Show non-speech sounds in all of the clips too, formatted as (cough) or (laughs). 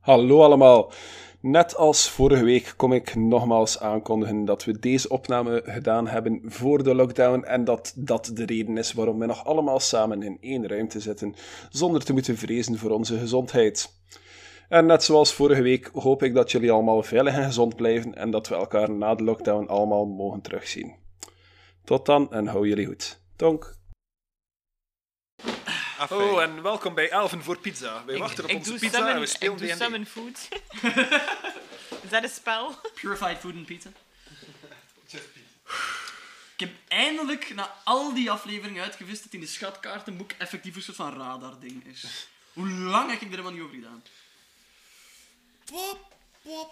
Hallo allemaal. Net als vorige week kom ik nogmaals aankondigen dat we deze opname gedaan hebben voor de lockdown en dat dat de reden is waarom we nog allemaal samen in één ruimte zitten zonder te moeten vrezen voor onze gezondheid. En net zoals vorige week hoop ik dat jullie allemaal veilig en gezond blijven en dat we elkaar na de lockdown allemaal mogen terugzien. Tot dan en hou jullie goed. Tonk. Oh, Afijn. en welkom bij Elven voor Pizza. Wij wachten op ik onze doe pizza summon, en we spelen Ik doe D&D. summon food. (laughs) Is dat een spel? Purified Food and Pizza. Ik heb eindelijk na al die afleveringen uitgevist dat in de schatkaartenboek effectief een soort van radar-ding is. Hoe lang heb ik er helemaal niet over gedaan?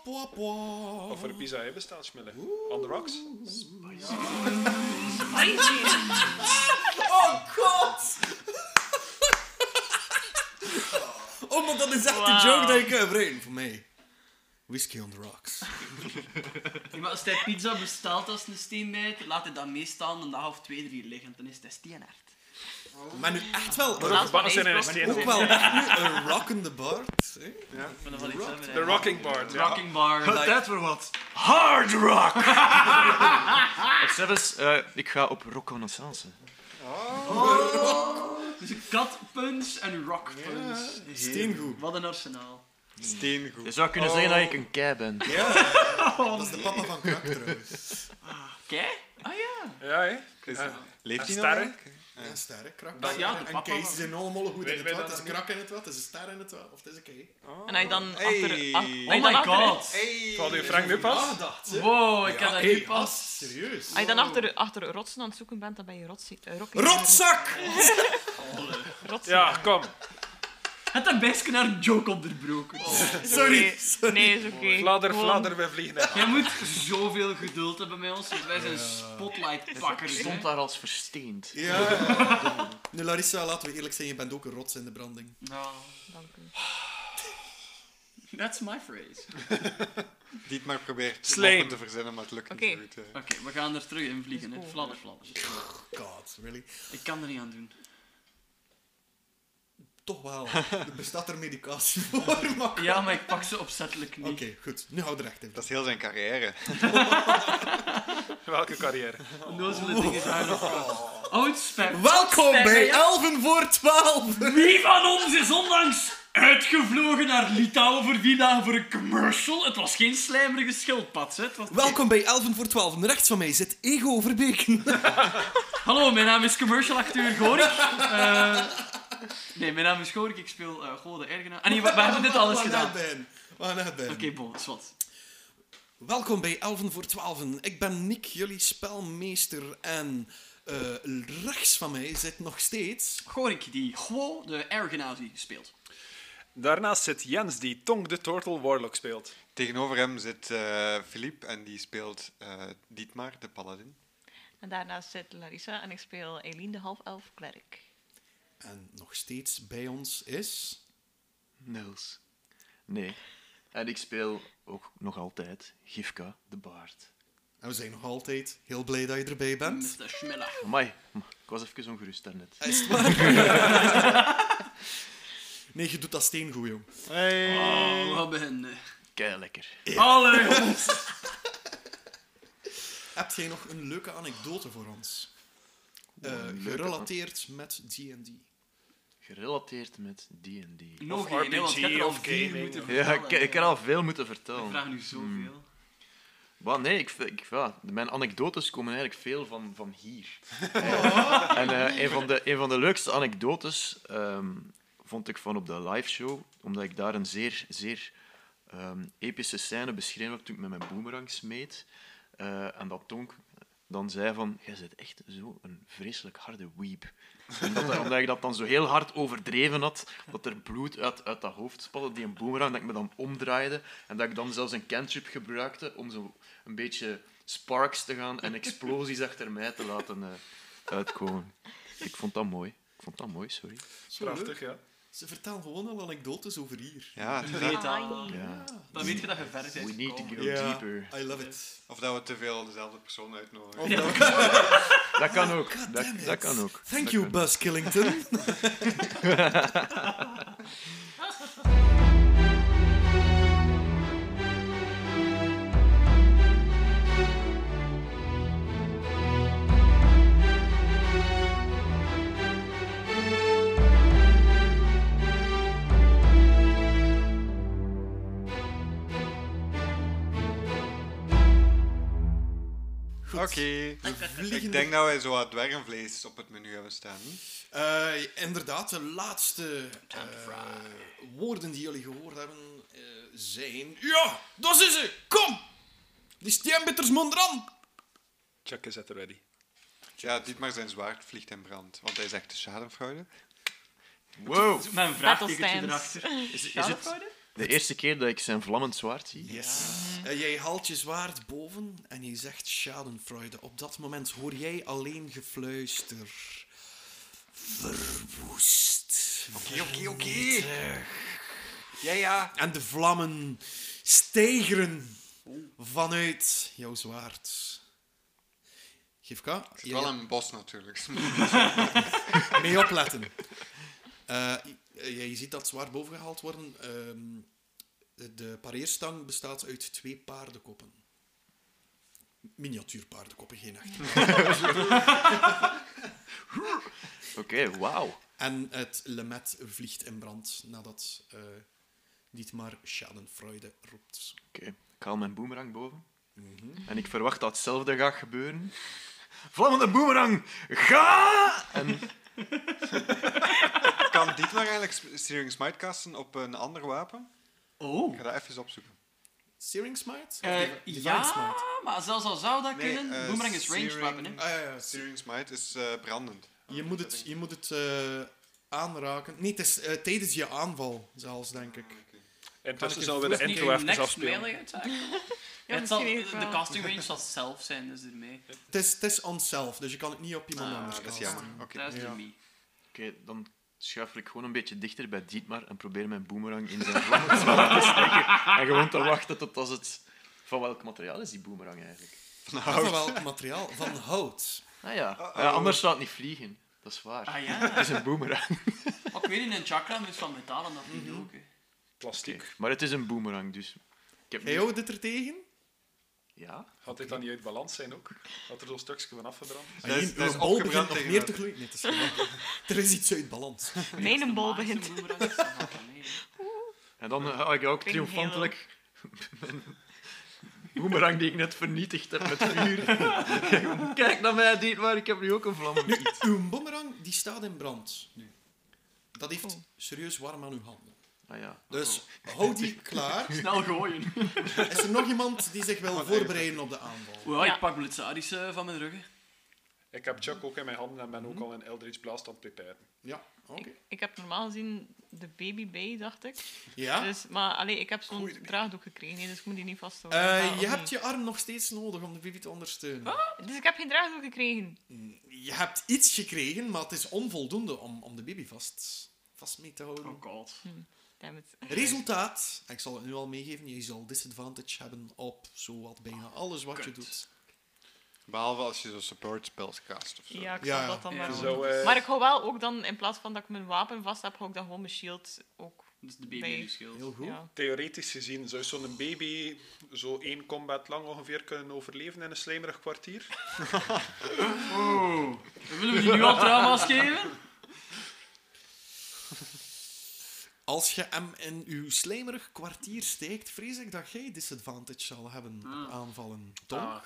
Wat voor pizza hebben we staan, Smille? On the rocks? Oh god! Oh, maar dat is echt Wauw. de joke dat ik heb reden voor mij. Whiskey on the rocks. Nee, maar als hij pizza bestelt als een steenbijter, laat hij dat meestaan een dag of twee, drie liggen. Dan is hij steenhard. Maar nu echt wel, Ook gebakken zijn in een ook steen. wel echt nu een rockende baard. hè? Ik vind dat wel iets hebben, hè. De rocking bar. Ja. Rocking bar. like- Tijd voor wat hard rock! of zelfs, eh, ik ga op rockconnaissance. Dus een katpunch en een rockpunch. Steengoed. Wat een arsenaal. Steengoed. Je zou kunnen zeggen dat ik een kei ben. Dat is de papa van Krak trouwens. Oké? Ah ja. Ja, hè? Leeft hij nog? Sterren. eigenlijk? Ja, sterk. Krak. Dat- ja, de en papa Kees was- zijn allemaal goed Weet- in het weet wat. dat Het is een krak in het wat, het is een ster in het wat, of het is een kei. En hij dan Hey. achter... ach- Oh hij Oh dan my achter- god. Valt u Frank nu pas? Aandacht, Oh, hè? Wow, ik Ja, had dat hey, nu pas. as, Serieus. Als je dan achter, achter rotsen aan het zoeken bent, dan ben je rotsie, eh, rocking. Rotzak! Rotsen. Ja, kom. Het had best kunnen haar joke onderbroken. Sorry. Nee, is oké. Fladder, Gewoon- fladder, we vliegen naar. Jij moet zoveel geduld hebben bij ons, want wij zijn spotlightpakkers. hè. Stond daar als versteend. Ja. Nu Larissa, laten we eerlijk zijn, je bent ook een rots in de branding. Nou, Dank u. that's my phrase. Dietmar probeert Slijm. slapen te verzinnen, maar het lukt Oké. niet zo goed. eh. Oké, we gaan er terug in vliegen. Hè. Fladder, fladder. God, really? Ik kan er niet aan doen. Toch wel. Er bestaat er medicatie (laughs) voor, maar... Oké, Ja, maar ik pak ze opzettelijk niet. goed. Nu hou er echt in. Dat is heel zijn (laughs) carrière. Welke carrière? Onnozele dingen zijn nog Oud spam. Welkom Spijt bij mij, ja. Elven voor 12. Wie van ons is onlangs uitgevlogen naar Litouwen voor vier dagen voor een commercial? Het was geen slijmerige schildpad, hè. Het was- Welkom bij Elven voor 12. En rechts van mij zit (laughs) Ego Verbeken. Hallo, mijn naam is commercial acteur Gorik. Eh, nee, mijn naam is Gorik. Ik speel eh Gode Ergena. Ah nee, we, we hebben dit alles gedaan. Oké, Waar net ben. bon, zwart. Welkom bij Elven voor 12. Ik ben Nick, jullie spelmeester. En eh, rechts van mij zit nog steeds... Gorik die Gwo de Ergenazi speelt. Daarnaast zit Jens, die Tong de Turtle Warlock speelt. Tegenover hem zit eh Philippe en die speelt eh, Dietmar, de paladin. En daarnaast zit Larissa en ik speel Eileen de half-elf klerk. En nog steeds bij ons is... Nils. Nee. En ik speel ook nog altijd Gifka de baard. En we zijn nog altijd heel blij dat je erbij bent. Mr. Schmilla. Amai, hm, ik was even ongerust daarnet. Is het waar? (laughs) nee, je doet dat steengoed, jong. We hebben een... eh, Kei lekker. Alle ons. Heb jij nog een leuke anekdote voor ons? Eh, gerelateerd met D&D. Gerelateerd met D&D. Nog Of geen, hè, want ik heb er al RPG of vier gaming, moeten of- Ja, vertellen. ik, ik heb al veel moeten Ik vertellen. vraag nu zoveel. Hmm. Wat, nee, ik, ik, ja, mijn anekdotes komen eigenlijk veel van, van hier. en eh, een, van de, een van de leukste anekdotes ehm, vond ik van op de liveshow, omdat ik daar een zeer, zeer ehm, epische scène beschreven heb toen ik met mijn boomerang smeet. Eh, en dat Tonk dan zei van, jij zit echt zo'n vreselijk harde weep. Omdat, hij- omdat ik dat dan zo heel hard overdreven had, dat er bloed uit, uit dat hoofd spatte, die een boomerang, dat ik me dan omdraaide en dat ik dan zelfs een cantrip gebruikte om zo een beetje sparks te gaan en explosies achter mij te laten eh, uitkomen. Ik vond dat mooi. Ik vond dat mooi, sorry. Zo leuk. Prachtig, ja. Ze vertellen gewoon al anekdotes over hier. Ja, Breed Ai. aan. Ja. Dan weet je dat je verder bent We need to gekomen. go deeper. I love it. of dat we te veel dezelfde persoon Oh, uitnodigen. Dat kan ook. God Dat, damn it. Oh, dat kan ook. Thank Dat you, kan ook. Buzz (laughs) Killington. Goed. Oké. Vliegende- Ik denk dat wij zo wat dwergenvlees op het menu hebben staan. Eh, inderdaad, de laatste eh, woorden die jullie gehoord hebben eh, zijn... Ja, dat is ze! Kom! Die steenbitters mondran! Chuck is at ready. Ja, Dietmar zijn zwaard vliegt in brand, want hij is echt de schadenfraude. Wow. Mijn vraagtekentje erachter. Is, is het de eerste keer dat ik zijn vlammend zwaard zie? Eh, jij haalt je zwaard boven en je zegt schadenfreude. Op dat moment hoor jij alleen gefluister. Verwoest. Oké, oké, oké. Ja, ja. En de vlammen stijgeren vanuit jouw zwaard. Gifka, Het is jij wel een bos natuurlijk. (laughs) mee opletten. Eh, eh, je ziet dat zwaar bovengehaald worden. Ehm, de- de pareerstang bestaat uit twee paardenkoppen. Miniatuur paardenkoppen, geen echt. Oké, wauw. En het lemet vliegt in brand nadat eh Dietmar Schadenfreude roept. Oké, ik haal mijn boemerang boven. Mhm. En ik verwacht dat hetzelfde gaat gebeuren. Vlammende boemerang, ga! En kan Dietmar eigenlijk sp- Searing Smite casten op een ander wapen? Oh. Ik ga dat even opzoeken. Searing Smite? Of Eh, Divi- Divine ja, Smite? maar zelfs al zou dat Nee, kunnen. eh, Boomerang is ranged searing- Eh, weapon, hè. Ah, ja, ja. se- Searing Smite is eh, brandend. Je moet het, je moet het eh, aanraken. Nee, het is eh, tijdens je aanval zelfs, denk Ah, ik. Intussen ik zullen we de het Niet intro uw even next afspelen. melee attack? (laughs) Ja, het zal, misschien is het de wel. casting range zal zelf zijn, dus ermee. Het is, het is onszelf, dus je kan het niet op iemand Ah, anders dat is casten. jammer. Oké. Dat is Ja. ermee. Oké, dan schuif ik gewoon een beetje dichter bij Dietmar en probeer mijn boemerang in zijn vlammend zwaard te steken. En gewoon te wachten tot als het... Van welk materiaal is die boemerang eigenlijk? nou, Van wel materiaal, van hout. Ah ja, Ja, anders zou het niet vliegen. Dat is waar. oh. Ah ja, (laughs) Het is een (laughs) boemerang. Maar ik weet niet, een chakra is van metaal en dat niet Mhm. ook. hè. Plastiek. Maar het is een boemerang, dus... Ik heb Hey, nu... houdt dit er tegen? Ja? Had dit dan niet uit balans zijn ook? Had er zo'n stukje van afgebrand? Dat is, Uw dat is bol begint opgebrand nog tegen meer dat. te gloeien. Nee, het is gewoon- (laughs) er is iets uit balans. Als Mijn de bol magische begint. boomerang is, dan valt Ah, dat mee, hè. En dan eh, hou ik ook Ping Halo. triomfantelijk (laughs) mijn boemerang die ik net vernietigd heb met (laughs) vuur. Kijk naar mij, Dietmar, ik heb nu ook een vlammend iets. (laughs) Uw boemerang die staat in brand nu. Dat heeft Oh. serieus warm aan uw handen. Ah ja. Dus hou die klaar. Snel gooien. Is er nog iemand die zich wil voorbereiden op de aanval? Wow, Ja. Ik pak Blitzaris eh, van mijn rug. hè. Ik heb Chuck ook in mijn handen en ben ook al in Eldritch Blast aan het preparen. Ja, oké. Ik, ik heb normaal gezien de baby bij, dacht ik. Ja? Dus, maar allee, ik heb zo'n draagdoek gekregen, hè, dus ik moet die niet vasthouden. Eh, Ah, je of hebt niet? je arm nog steeds nodig om de baby te ondersteunen. Dus ik heb geen draagdoek gekregen. Je hebt iets gekregen, maar het is onvoldoende om, om de baby vast, vast mee te houden. Oh god. Damn it. Resultaat, ik zal het nu al meegeven, je zal disadvantage hebben op zowat bijna alles wat je Kut. doet. Behalve als je zo support spells cast of zo. Ja, ik Ja, zal ja. dat dan Ja. maar doen. Zo, eh, Maar ik hou wel ook dan, in plaats van dat ik mijn wapen vast heb, hou ik dan gewoon mijn shield ook. Dus de baby Nee. in je schild. Heel goed. Ja. Theoretisch gezien zou zo'n baby zo één combat lang ongeveer kunnen overleven in een slijmerig kwartier. Willen we die nu al trauma's geven? Als je hem in uw slijmerig kwartier steekt, vrees ik dat jij disadvantage zal hebben op Ah. aanvallen. Tom?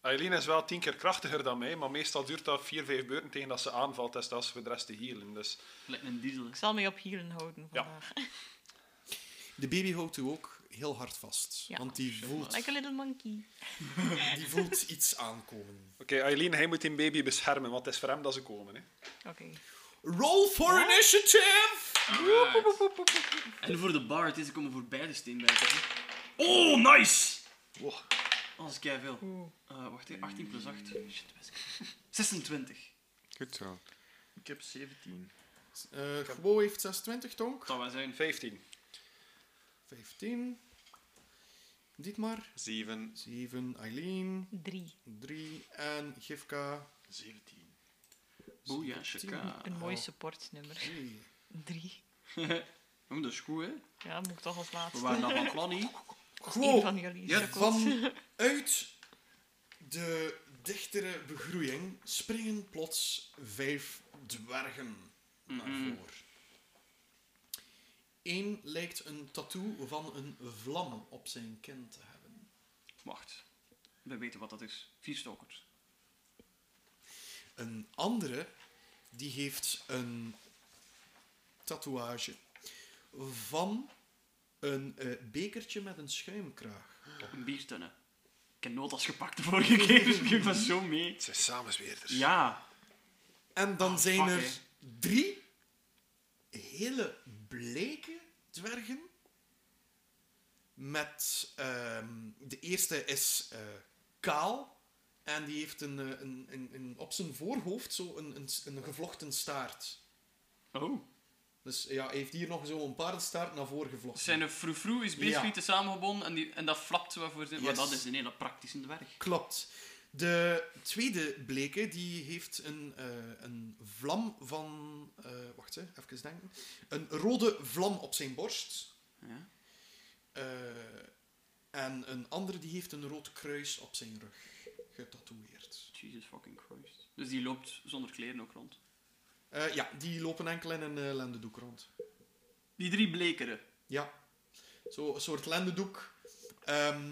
Aileen is wel tien keer krachtiger dan mij, maar meestal duurt dat vier, vijf beurten tegen dat ze aanvalt en dat ze voor de rest te healen. Dus (laughs) Lijkt een diesel. hè. Ik zal mij op hielen houden Ja. vandaag. (laughs) De baby houdt u ook heel hard vast. Ja. Want die voelt, Like a little monkey. die voelt iets aankomen. Oké, Aileen, hij moet die baby beschermen, want het is voor hem dat ze komen. Hè. Oké. Roll for initiative! En voor de bard is, ze komen voor beide steenbijten. hè. Oh, nice! Oh, Wow. Als ik veel. Eh, wacht, hè. 18 plus 8. Shit, best. 26. Goed zo. Ik heb 17. Eh Gwo heeft 26, Tonk. Dat wij zijn. 15. 15. Dietmar. 7. 7. Eileen. Drie. 3. En Gifka. 17. Oeh, ja, chaka. Een mooi supportnummer. 3. Drie. Oh, dat is goed, hè? Ja, moet ik toch als We laatste. waren dan van plan, hè? Eén Gwo, van jullie Ja, sukkels. (laughs) vanuit de dichtere begroeiing springen plots vijf dwergen naar voren. Eén lijkt een tattoo van een vlam op zijn kin te hebben. Wacht. We weten wat dat is. Vier stokers. Een andere, die heeft een tatoeage van een eh, bekertje met een schuimkraag. Een biertunnen. Ik heb notas gepakt de vorige keer, dus ik geef dat zo mee. Het zijn samenzweerders. Ja. En dan Ah, zijn fuck, er hè. drie hele bleke dwergen. Met, ehm, de eerste is eh, kaal. En die heeft een, eh, een, een, een- op zijn voorhoofd zo een, een, een gevlochten staart. Oh. Dus ja, hij heeft hier nog zo'n paardenstaart naar voren gevlochten. Zijn froufrou is basically te samengebonden en, die, en dat flapt zo voor zijn... Maar Yes. dat is een hele praktische dwerg. Klopt. De tweede bleke, die heeft een, eh, een vlam van... eh, wacht, hè, even denken. Een rode vlam op zijn borst. Ja. Eh, en een andere, die heeft een rood kruis op zijn rug getatoeëerd. Jesus fucking Christ. Dus die loopt zonder kleren ook rond. Eh, ja, die lopen enkel in een eh, lendendoek rond. Die drie blekeren. Ja. Zo, een soort lendendoek. Ehm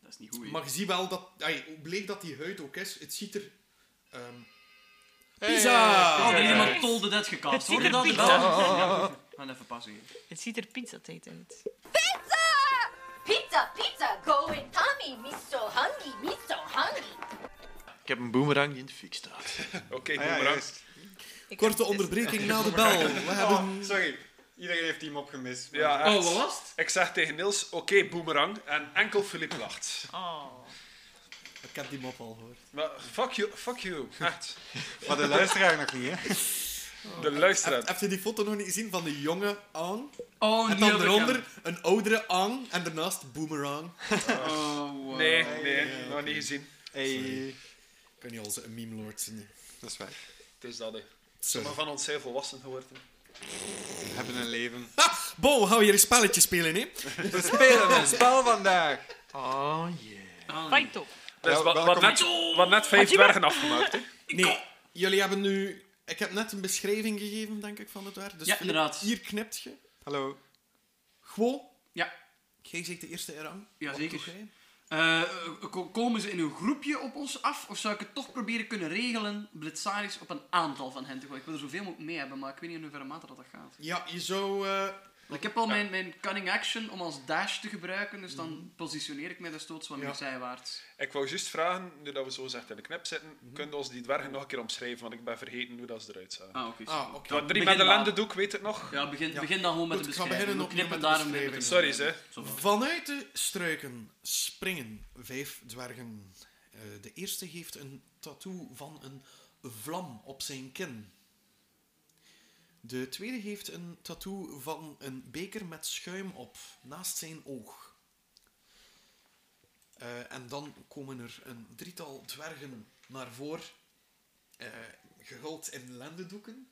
Dat is niet goed. hè. Maar je ziet wel dat... ai, hoe bleek dat die huid ook is? Het ziet er... ehm Hey. Pizza! Oh, er is iemand Tol de Dead Het gekast. ziet Hoor je er dat? pizza Oh. Ja. Gaan even passen hier. Het ziet er pizza uit. Pizza! Pizza, pizza, going Tommy, me so hungry, me so hungry. Ik heb een boomerang die in de fik staat. Oké, Ah, ja, boemerang. juist. Ik Korte onderbreking na de bel. We hebben... Oh, sorry. Iedereen heeft die mop gemist. maar- Ja, echt. Oh, was het? Ik zeg tegen Niels, oké, boemerang. En enkel Filip lacht. Oh. Ik heb die mop al gehoord. Maar fuck you, fuck you. Echt. Maar de luisteraar nog niet, hè? De luisteraar. (laughs) Heb, heb je die foto nog niet gezien van de jonge Ang? Oh, En niet dan op de eronder een oudere Ang en daarnaast Boomerang. kamer. Oh, wow. Nee, nee, nog niet gezien. Hey. Ik kan niet onze meme lord zien. Dat is waar. Het is dat, hè. Sorry. Maar van ons zijn volwassen geworden. We hebben een leven. Ha! Bo, gaan we hier een spelletje spelen, hè? We spelen een spel vandaag. Oh yeah. Fijn top. Dat is Wel- Dus wat, wat, welkom. net, wat net vijf dwergen afgemaakt, hè. Nee, jullie hebben nu... Ik heb net een beschrijving gegeven, denk ik, van het werk. Dus Ja, Filip, inderdaad. hier knipt je. Hallo. Gewoon. Ja. Jij zegt de eerste erang. Ja, Wat zeker. doe jij? Eh, ko- komen ze in een groepje op ons af? Of zou ik het toch proberen kunnen regelen, blitzaris, op een aantal van hen te gooien? Ik wil er zoveel mogelijk mee hebben, maar ik weet niet in hoeverre mate dat, dat gaat. Ja, je zou... eh, Want ik heb al mijn, mijn cunning action om als dash te gebruiken, dus dan positioneer ik mij de stoots wat Mhm. Ja. meer zijwaarts. Ik wou juist vragen, nu dat we zo zacht in de knip zitten, kunnen we ons die dwergen nog een keer omschrijven, want ik ben vergeten hoe dat ze eruit zagen. Ah, oké. Ah, oké. Dat drie met begin de later. lendendoek, weet het nog? Ja, begin, Ja. begin dan gewoon met Goed, de ik ga beschrijving. beginnen We knippen opnieuw met de daarom mee beschrijving. Sorry, ze. Vanuit de struiken springen vijf dwergen. Eh, de eerste heeft een tattoo van een vlam op zijn kin. De tweede heeft een tattoo van een beker met schuim op, naast zijn oog. Eh, en dan komen er een drietal dwergen naar voren, eh, gehuld in lendendoeken.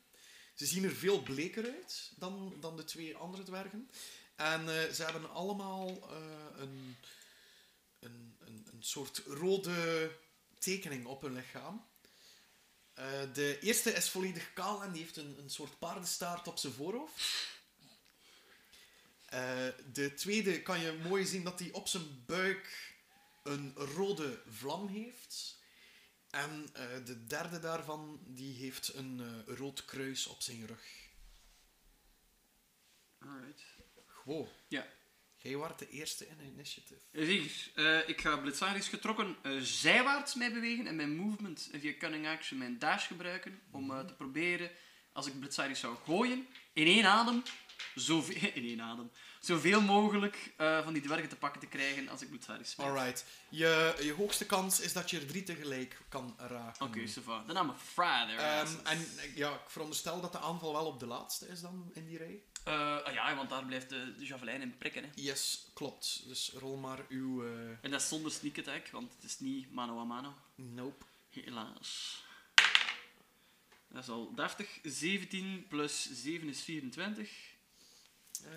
Ze zien er veel bleker uit dan, dan de twee andere dwergen. En eh, ze hebben allemaal eh, een, een, een, een soort rode tekening op hun lichaam. Eh, de eerste is volledig kaal en die heeft een, een soort paardenstaart op zijn voorhoofd. Eh, de tweede kan je mooi zien dat hij op zijn buik een rode vlam heeft. En eh, de derde daarvan die heeft een eh, rood kruis op zijn rug. Alright. Gewoon. Ja. Jij was de eerste in initiative. Zeker. Eh, ik ga blitzaris getrokken eh, zijwaarts mij bewegen en mijn movement en via cunning action mijn dash gebruiken om eh, te proberen, als ik blitzaris zou gooien, in één adem, zoveel, (laughs) in één adem, zoveel mogelijk eh, van die dwergen te pakken te krijgen als ik blitzaris speel. Alright. Je, je hoogste kans is dat je er drie tegelijk kan raken. Oké, so far. Dan I'm a fry their Ehm, asses. en eh, ja, ik veronderstel dat de aanval wel op de laatste is dan in die rij. Eh, ah ja, want daar blijft de, de javelijn in prikken. Hè. Yes, klopt. Dus rol maar uw... eh, En dat is zonder sneak attack, want het is niet mano a mano. Nope. Helaas. Dat is al 30. 17 plus 7 is 24. Eh,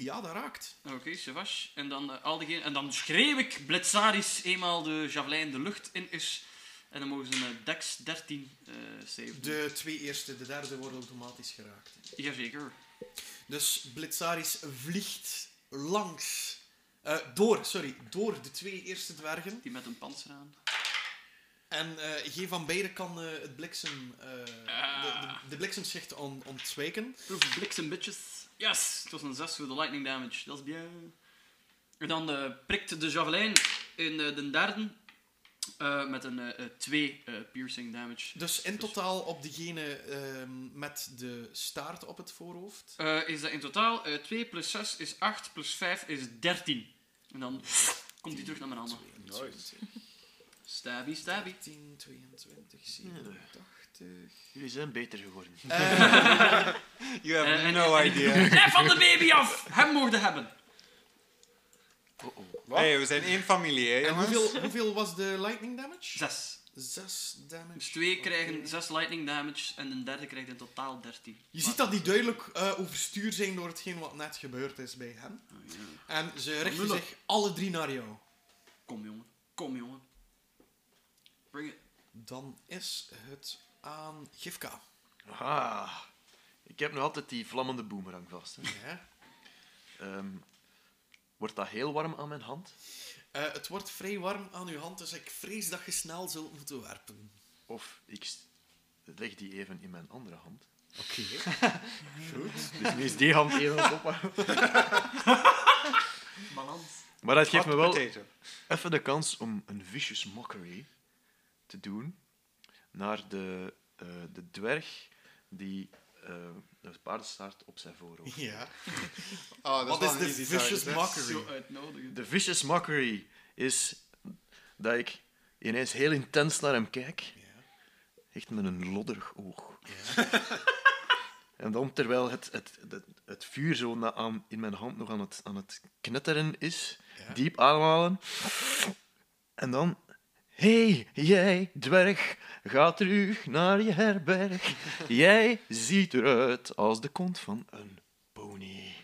ja, dat raakt. Ah, Oké, Savage. En dan, eh, al diegene, en dan schreeuw ik blitzaris eenmaal de javelijn de lucht in is. En dan mogen ze een dex 13 eh save doen. De twee eerste, de derde worden automatisch geraakt. Jazeker. Dus Blitzaris vliegt langs Eh, door, sorry, door de twee eerste dwergen. Die met een panzer aan. En eh, geen van beiden kan eh, het bliksem, eh, de, de, de bliksemschicht on, ontwijken. Proof bliksem bitches. Yes! Het was een 6 voor de lightning damage. Dat is bien. En dan eh, prikt de javelijn in eh, de derde eh, met een 2 piercing damage. Dus in totaal op degene ehm, met de staart op het voorhoofd. Eh, is dat in totaal eh 2 plus 6 is 8 plus 5 is 13. En dan komt die terug naar mijn handen. 22, Stabby, stabby. 10, 22, 87. Jullie zijn beter geworden. You have Eh, en- no idea. Eh, van de baby af! Hem mogen hebben! hey, we zijn één familie, hè, En jongens? hoeveel, hoeveel was de lightning damage? 6. 6 damage. Dus twee Oké. krijgen 6 lightning damage en de derde krijgt in totaal 13. Je ziet dat die duidelijk eh, overstuur zijn door hetgeen wat net gebeurd is bij hen. En ze richten Muller. zich alle drie naar jou. Kom jongen, kom jongen. Bring it. Dan is het aan Gifka. Ah, ik heb nog altijd die vlammende boemerang vast. hè. Ja. Ehm, wordt dat heel warm aan mijn hand? Eh, het wordt vrij warm aan uw hand, dus ik vrees dat je snel zult moeten werpen. Of ik s- leg die even in mijn andere hand? (laughs) Oké. Dus nu is die hand even aan het ophouden. Balans. Maar dat geeft Hot me wel potato. even de kans om een vicious mockery te doen naar de, eh, de dwerg die eh de paardenstaart op zijn voorhoofd. Ja. Oh, dat Wat wel is een de easy vicious target, hè. Zo mockery? uitnodigen. De vicious mockery is dat ik ineens heel intens naar hem kijk. Echt met een lodderig oog. (laughs) en dan, terwijl het, het, het, het vuur zo na- aan, in mijn hand nog aan het, aan het knetteren is, diep ademhalen. En dan... hey, jij dwerg, ga terug naar je herberg. Jij ziet eruit als de kont van een pony.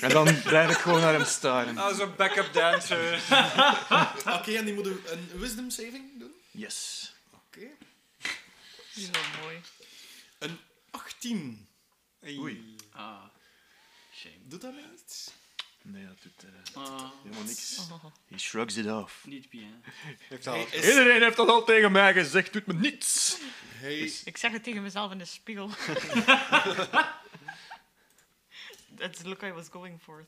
En dan blijf ik gewoon naar hem staren. Ah, zo'n backup dancer. eh, Oké, en die moet een wisdom saving doen. Yes. Oké. Die is wel mooi. Een 18. Oei. Ah, shame. Doet dat mij niet? Nee, dat doet eh, Ah, helemaal niks. Oh. He shrugs it off. niet bien. Heeft al. Hij is, Iedereen heeft dat al tegen mij gezegd, doet me niets. hij is Ik zeg het tegen mezelf in de spiegel. (laughs) That's the look I was going for.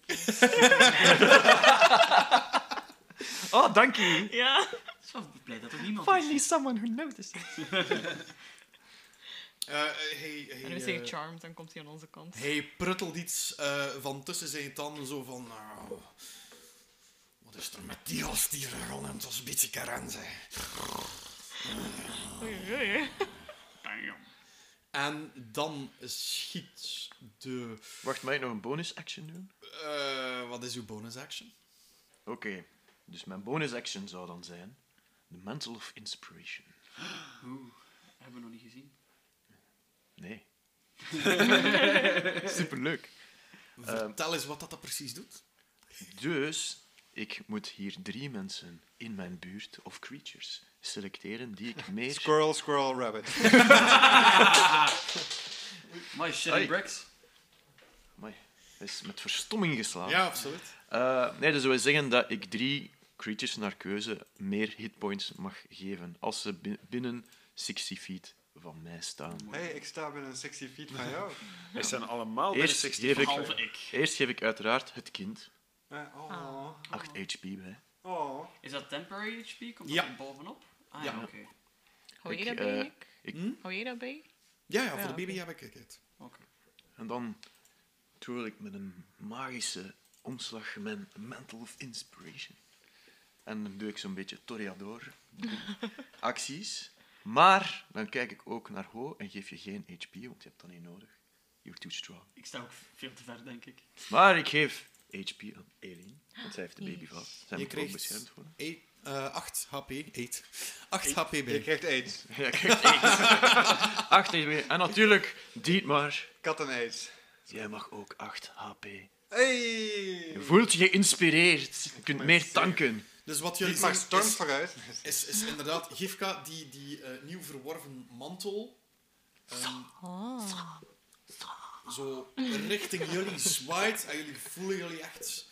Oh, dank u. ja. Het is wel blij dat er niemand Finally is. someone who noticed. eh, hij- En we hij, zeggen eh, charmed, dan komt hij aan onze kant. hij pruttelt iets eh, van tussen zijn tanden, zo van... "Nou, wat is er met die gast hier rond? Het was een beetje karant, hè." Oei, oei, oei. Damn. En dan schiet de... Wacht, mag ik nog een bonus action doen? eh, wat is uw bonus action? Oké, dus mijn bonus action zou dan zijn... The Mantle of Inspiration. Oeh, hebben we nog niet gezien. Nee. (laughs) Superleuk. Eh, Vertel eens wat dat, dat precies doet. Dus, ik moet hier drie mensen in mijn buurt of creatures selecteren die ik meer... Squirrel, squirrel, rabbit. My shit Ai. bricks. Amai, hij is met verstomming Ah. geslagen. Ja, absoluut. Eh, nee, dus we zeggen dat ik drie creatures naar keuze meer hitpoints mag geven als ze bin- binnen 60 feet van mij staan. hey, ik sta binnen 60 feet (laughs) van jou. Ze zijn allemaal binnen Eerst 60 geef, Behalve ik, ik. eerst geef ik uiteraard het kind Eh, Oh. 8 HP bij. Oh. Is dat temporary HP? Komt Ja. dat er bovenop? Ah ja, Ja. oké. Hou je Ik, dat bij, eh, Nick? ik- Hou je dat bij? Ja, ja, voor Ja, de baby oké. heb ik het. Oké. En dan twirl ik met een magische omslag mijn Mantle of Inspiration. En dan doe ik zo'n beetje Toreador acties. Maar dan kijk ik ook naar Ho en geef je geen HP, want je hebt dat niet nodig. You're too strong. Ik sta ook veel te ver, denk ik. Maar ik geef HP aan Eileen, want zij heeft de baby van. Zij Je moet ook krijgt beschermd worden. (laughs) eight- eh, 8 HP. 8. 8 HP Je bij. krijgt AIDS. Ja, krijgt AIDS. (laughs) Acht HP. En natuurlijk, Dietmar, Katten AIDS. jij mag ook 8 HP. Je Hey! voelt je geïnspireerd. Je kunt meer tanken. Dus wat jullie Niet maar zien storm is- vooruit. is, is inderdaad Gifka die, Oh. die eh, nieuw verworven mantel. ehm, zo richting jullie zwaait. En jullie voelen jullie echt...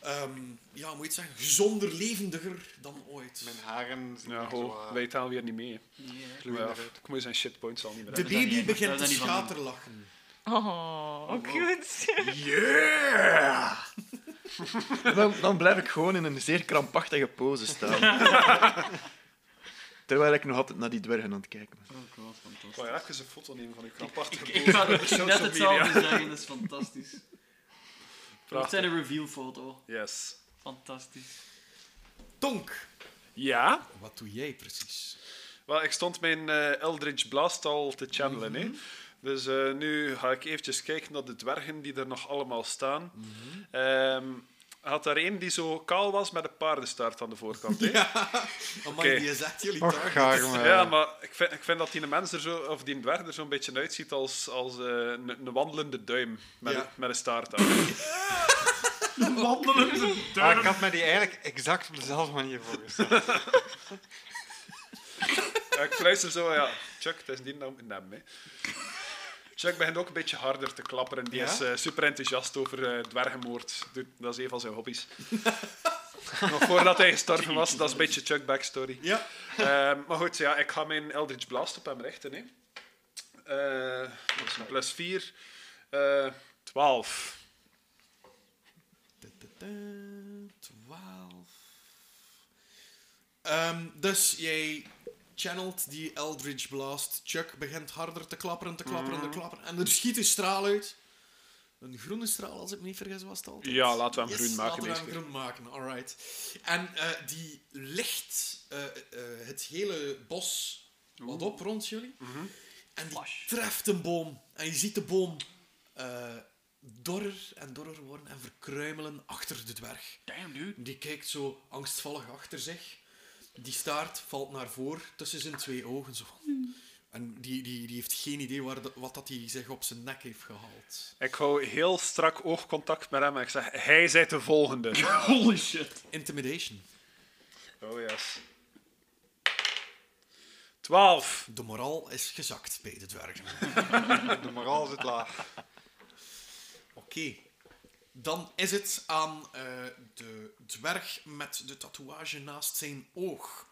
Ehm, ja, moet je het zeggen, gezonder, levendiger dan ooit. Mijn haren zien Ja, er ho, zo eh, wij talen weer niet mee. hè. Yeah. Ja, gloeiender uit. ik moet zijn shitpoints al niet meer De is daar niet baby echt- daar begint is te dat niet van in. schaterlachen. Oh, cute. Yeah! dan, dan blijf ik gewoon in een zeer krampachtige pose (laughs) staan. Terwijl ik nog altijd naar die dwergen aan het kijken ben. Oh god, fantastisch. Ik ga even een foto nemen van die krampachtige Ik ga pose op net social media. hetzelfde zeggen, dat is fantastisch. Dat Prachtig. zijn een reveal-foto. Yes. Fantastisch. Tonk, Ja? wat doe jij precies? Wel, ik stond mijn eh, Eldritch Blast al te channelen. hè. Mhm. Dus eh, nu ga ik eventjes kijken naar de dwergen die er nog allemaal staan. Mhm. Ehm, had daar één die zo kaal was met een paardenstaart aan de (laughs) voorkant. hè? Ja. Amai, Oké. die is echt jullie Och, target. gaar, maar ik vind, ik vind dat die mens er zo, of die dwerg er zo'n beetje uitziet als, als eh, een, een wandelende duim met, Ja. een, met een staart aan. Wandelende Maar Ah, ik had me die eigenlijk exact op dezelfde manier voorgesteld. Ja, ik fluister zo, ja, Chuck, het is niet nou met hem. Hè. Chuck begint ook een beetje harder te klapperen. Die Ja? is eh, super enthousiast over eh dwergenmoord. Doet- Dat is een van zijn hobby's. (laughs) Nog voordat hij gestorven was, dat is een beetje Chuck backstory. Ja, Ehm, maar goed, ja, ik ga mijn Eldritch Blast op hem richten. Hè. Eh, dat is een plus Eh, 4. 12. 12. Ehm, dus jij channelt die Eldritch Blast. Chuck begint harder te klapperen, te klapperen, Mhm. te klapperen. En er schiet een straal uit. Een groene straal, als ik me niet vergis, was het altijd. Ja, laten we hem Yes, groen maken Laten we deze hem keer. groen maken, alright. En eh, die licht eh, eh, het hele bos wat op rond jullie. Mhm. En die treft een boom. En je ziet de boom eh, dorrer en dorrer worden en verkruimelen achter de dwerg. Damn, dude. Die kijkt zo angstvallig achter zich. Die staart valt naar voren tussen zijn twee ogen. Zo. En die, die, die heeft geen idee waar de- wat dat hij zich op zijn nek heeft gehaald. Ik hou heel strak oogcontact met hem en ik zeg: Hij zijt de volgende. Holy shit. Intimidation. Oh yes. 12. De moraal is gezakt bij de dwergen. De moraal zit laag. Oké. Dan is het aan eh, de dwerg met de tatoeage naast zijn oog.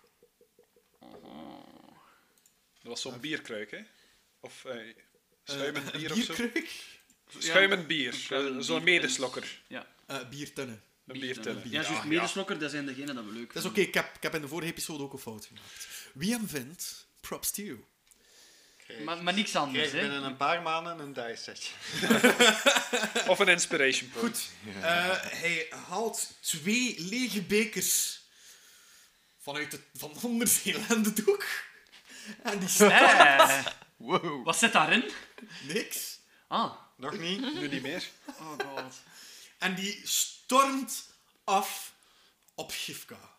Dat was zo'n bierkruik, hè? Of eh, schuimend Eh, bier of zo? bierkruik? Schuimend bier. Schuimend Eh, Zo'n bier. medeslokker. Ja. Eh, biertunnen. Een biertunnen. Ja, juist medeslokker, dat zijn degenen dat we leuk Dat is oké, ik, heb, ik heb in de vorige episode ook een fout gemaakt. Wie hem vindt, props to you. vinden. Maar, maar niks anders, Krijg hè. binnen een paar maanden een dice setje. Of een inspiration point. Goed. Eh, hij haalt twee lege bekers vanuit de, van onder zijn lendendoek. En die snapt Eh, Wow. wat zit daarin? niks. Ah. Nog niet? Nu niet meer. Oh god. En die stormt af op Gifka.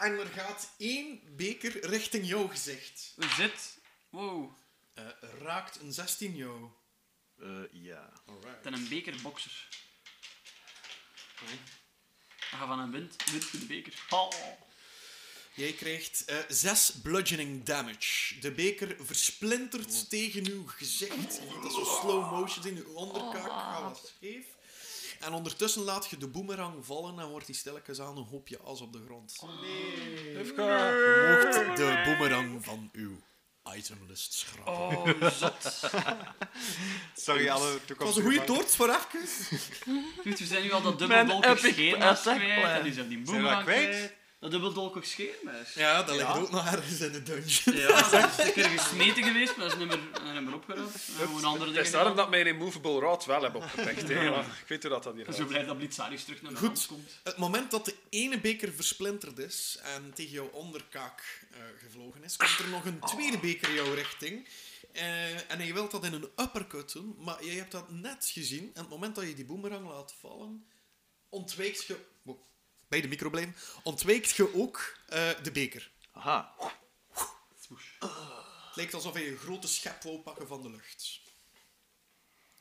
En er gaat één beker richting jouw gezicht. Een zit. Wow. Eh, raakt een 16 jou. Eh, ja. Dan een bekerboxer. Hij gaat van een wind. Wind voor de beker. Oh. Jij krijgt eh 6 bludgeoning damage. De beker versplintert tegen uw gezicht. Je ziet dat zo slow motion in uw onderkaak gaat wat scheef. En ondertussen laat je de boemerang vallen en wordt die stilletjes aan een hoopje as op de grond. Hufka. Je moogt de boemerang van uw itemlist (laughs) schrappen. Oh, zot. Sorry, alle Het was toekomstige een goede banken. toorts voor even. Dude, we zijn nu al dat dubbeldolkig epic scheermes attack kwijt. plan. En nu zijn die we dat boemerang kwijt? kwijt. Dat dubbeldolkig scheermes. Ja, dat ligt ook nog ergens in de dungeon. Ja, dat is zeker gesmeten geweest, maar dat is nummer, een nummer opgeruimd. We hebben een andere Het is dingen daarom gedaan. dat mijn removable rod wel heb opgepikt. hè. Ja, ik weet hoe dat, dat hier Ik ben zo gaat. blij dat Blitzaris terug naar Goed. ons komt. Het moment dat de ene beker versplinterd is en tegen jouw onderkaak eh, gevlogen is, komt er nog een tweede beker jouw richting. Eh, en je wilt dat in een uppercut doen, maar jij hebt dat net gezien. En het moment dat je die boemerang laat vallen, ontwijkt je... Wow, Bij de micro blijven. Ontwijkt je ook eh, de beker. Aha. Het lijkt alsof hij een grote schep wou pakken van de lucht.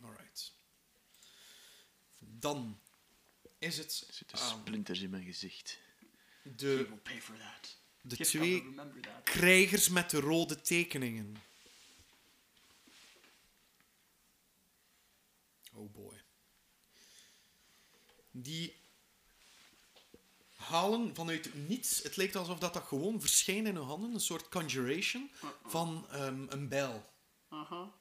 Alright. Dan is het Er zitten aan splinters in mijn gezicht. We de, will pay for that. de Give twee remember that. krijgers met de rode tekeningen. cowboy. Oh, Die halen vanuit niets, het lijkt alsof dat, dat gewoon verschijnt in hun handen, een soort conjuration van ehm, een bijl. Aha.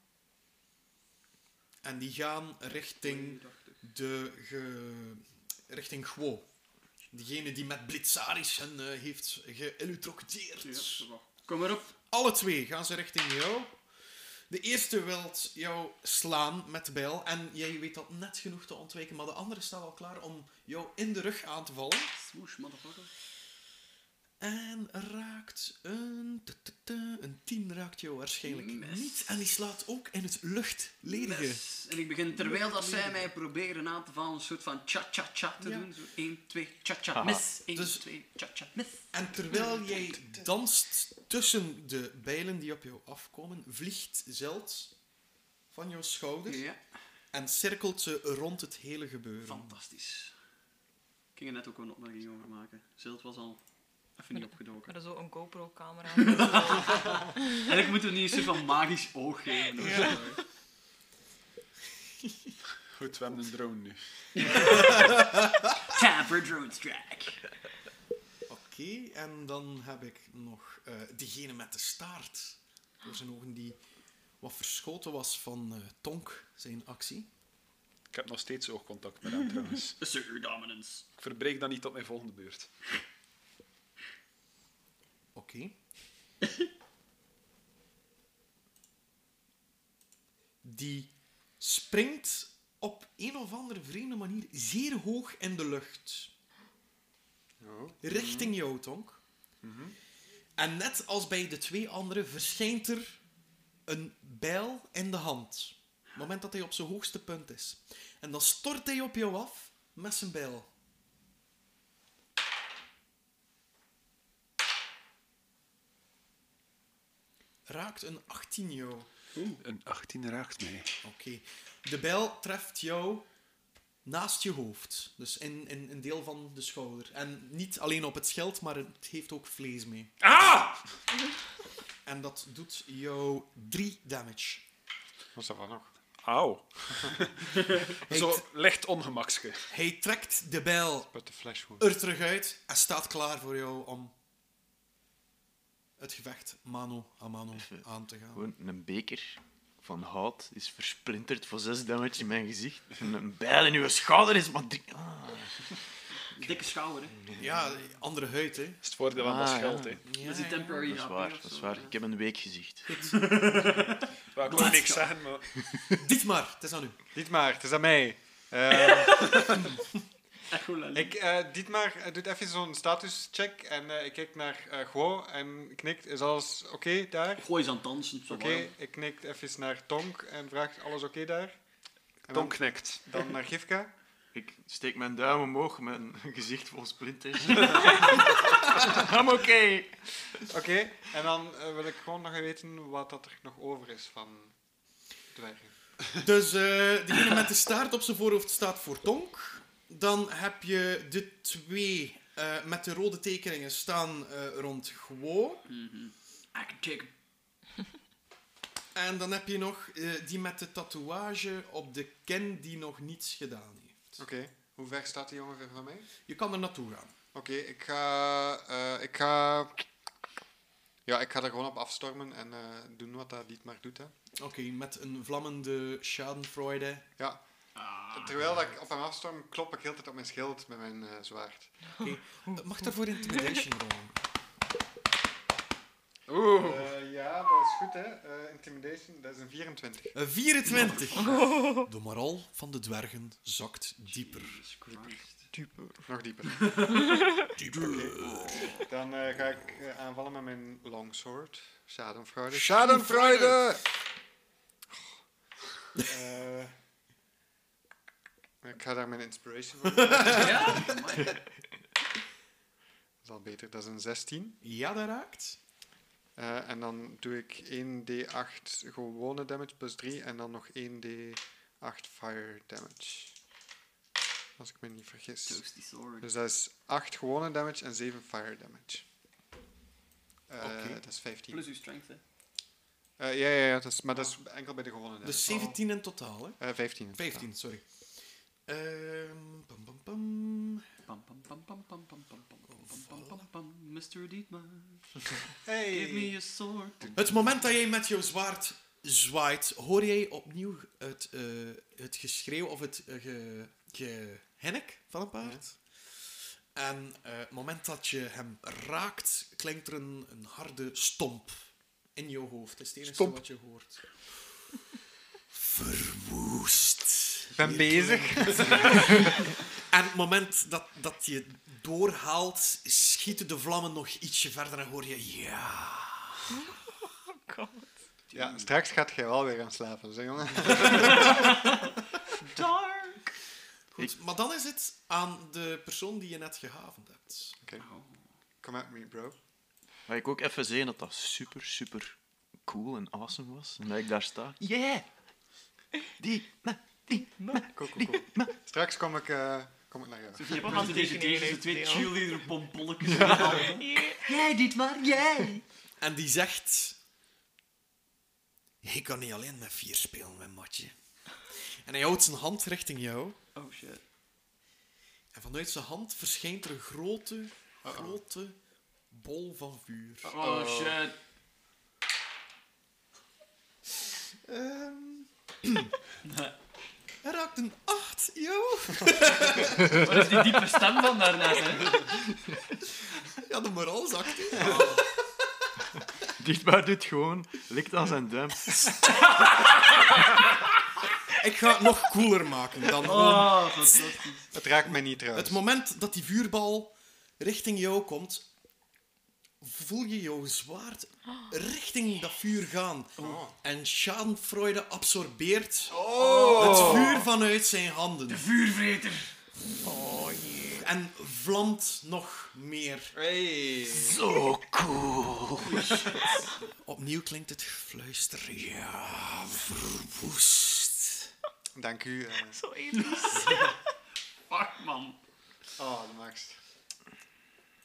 En die gaan richting de ge- richting Guo. Degene die met Blitzaris hen eh, heeft geëlectrocuteerd. Ja, zo wel. Kom maar op. Alle twee gaan ze richting jou. De eerste wil jou slaan met de bijl. En jij weet dat net genoeg te ontwijken. Maar de andere staat al klaar om jou in de rug aan te vallen. Swoosh, motherfucker. En raakt een... tu- tu- tu- Een 10 raakt jou waarschijnlijk Mes. niet. En die slaat ook in het luchtledige. Yes. En ik begin, terwijl dat zij mij proberen aan te vallen, een soort van cha-cha-cha te Ja. doen. Zo 1, 2, cha-cha, mis. 1, Dus- 2, cha-cha, mis. En terwijl jij danst tussen de bijlen die op jou afkomen, vliegt Zeld van jouw schouder Ja, en cirkelt ze rond het hele gebeuren. fantastisch. Ik ging er net ook een opmerking over maken. Zilt was al even niet (laughs) opgedoken. Met zo'n GoPro-camera. Eigenlijk moeten we niet een soort van magisch oog geven. of zo. (laughs) Goed, we hebben een drone nu. Time for drone strike. Oké, en dan heb ik nog eh diegene met de staart. Door zijn ogen die wat verschoten was van eh, Tonk, zijn actie. Ik heb nog steeds oogcontact met hem trouwens. Sir dominance. Ik verbreek dat niet tot mijn volgende beurt. Oké. Die springt op een of andere vreemde manier zeer hoog in de lucht. Richting jou, Tonk. En net als bij de twee anderen verschijnt er een bijl in de hand. Op het moment dat hij op zijn hoogste punt is. En dan stort hij op jou af met zijn bijl. Raakt een 18 jou. Een 18 raakt mij. Oké. De bijl treft jou naast je hoofd. Dus in, in een deel van de schouder. En niet alleen op het schild, maar het heeft ook vlees mee. Ah! En dat doet jou 3 damage. Wat is dat van nog? Auw. Hij, (laughs) Zo t- licht ongemakske. hij trekt de bijl Put the flesh wound. er terug uit en staat klaar voor jou om het gevecht mano a mano aan te gaan. Gewoon een beker van hout is versplinterd voor 6 damage in mijn gezicht. En een bijl in uw schouder is maar drie... Ah. Dikke schouder, hè. Ja, andere huid, hè. Dat is het voordeel van dat Ah, scheld, ja. hè. Ja, Dat is die ja. temporary Dat is HP waar, of dat is zo, waar. ja. Ik heb een week gezicht. Maar Ik wil niks zeggen, maar... Dit maar, het is aan u. Dietmar, het is aan mij. Eh, Echolali. ik, eh, Dietmar eh, doet even zo'n statuscheck en eh, ik kijk naar eh Guo en knikt. Is alles oké daar? Gooi eens aan het dansen. zo Oké, warm. ik knik even naar Tonk en vraag alles oké daar? En Tom dan, knikt. dan naar Gifka. Ik steek mijn duim omhoog, mijn gezicht vol splinters. I'm oké. Oké, en dan eh, wil ik gewoon nog weten wat dat er nog over is van dwergen. Dus eh degene met de staart op zijn voorhoofd staat voor Tonk. Dan heb je de twee eh, met de rode tekeningen staan eh, rond Guo. I can take him. En dan heb je nog eh, die met de tatoeage op de kin die nog niets gedaan heeft. Oké, hoe ver staat die jongen van mij? Je kan er naartoe gaan. Oké, ik ga. eh, ik ga. Ja, ik ga er gewoon op afstormen en eh, doen wat dat Dietmar doet. Hè. Oké, met een vlammende schadenfreude. Ja. Terwijl dat ik op hem afstorm, klop ik heel de tijd op mijn schild met mijn eh, zwaard. Eh, Mag daarvoor intimidation rollen? Eh, ja, dat is goed, hè? Eh, intimidation, dat is een 24. Eh, 24. De moraal van de dwergen zakt dieper. Jesus Christ. Nog dieper. Oké. Dan eh, ga ik eh, aanvallen met mijn longsword. Schadenfreude. Schadenfreude! Eh, ik ga daar mijn inspiration voor doen. Ja? amai. Dat is al beter. Dat is een 16. Ja, dat raakt. Eh, en dan doe ik 1d8 gewone damage plus 3 en dan nog 1d8 fire damage. Als ik me niet vergis. Toasty sword. Dus dat is 8 gewone damage en 7 fire damage. Eh, Oké. Dat is 15. Plus uw strength, hè. Eh, ja, ja, ja dat is, maar dat is enkel bij de gewone damage. Dus 17 in totaal, hè? Eh, 15. 15, sorry. Ehm pam, pam, pam. Pam, pam, pam, pam, pam, pam, pam, pam, pam, pam, pam, pam, pam. Mr. Dietmar, give Hey. me a sword. Het moment dat jij met jouw zwaard zwaait, hoor jij opnieuw het, eh, het geschreeuw of het eh, ge, gehennik van een paard. En eh, het moment dat je hem raakt, klinkt er een, een harde stomp in je hoofd. Dat is het enige Stomp. wat je hoort. (laughs) Verwoest. Ik ben bezig. (laughs) En het moment dat, dat je doorhaalt, schieten de vlammen nog ietsje verder en hoor je ja. Ja, straks gaat jij wel weer gaan slapen, zeg jongen. Dark. Goed, maar dan is het aan de persoon die je net gehavend hebt. Oké. Come at me, bro. Mag ik ook even zeggen dat dat super, super cool en awesome was? En dat ik daar sta. Yeah! Die, na, die, na, Cool, cool, cool. Straks kom ik, eh, kom ik naar jou. Je hebt Wat presentation handtekeningen tegen de heeft twee die, cheerleader pompolletjes. Jij, dit maar, jij! En die zegt... Je kan niet alleen met vier spelen, mijn matje. En hij houdt zijn hand richting jou. (laughs) Oh shit. En vanuit zijn hand verschijnt er een grote, grote bol van vuur. Oh shit. Ehm, (clears throat) Hij raakt een 8, joh. Wat is die diepe stem van daarnet, (laughs) hè? Ja, de moraal zakt. hè. Dietmar doet gewoon, likt aan zijn duim. Ik ga het nog cooler maken dan gewoon Oh, fantastisch. Het raakt mij niet trouwens. Het moment dat die vuurbal richting jou komt, voel je jouw zwaard richting dat vuur gaan. En Schadenfreude absorbeert het vuur vanuit zijn handen. Vuurvreter. En vlamt nog meer. Zo cool! Opnieuw klinkt het fluister. Ja, verwoest. Dank u. eh. Zo elies. Fuck, man. Oh, de max.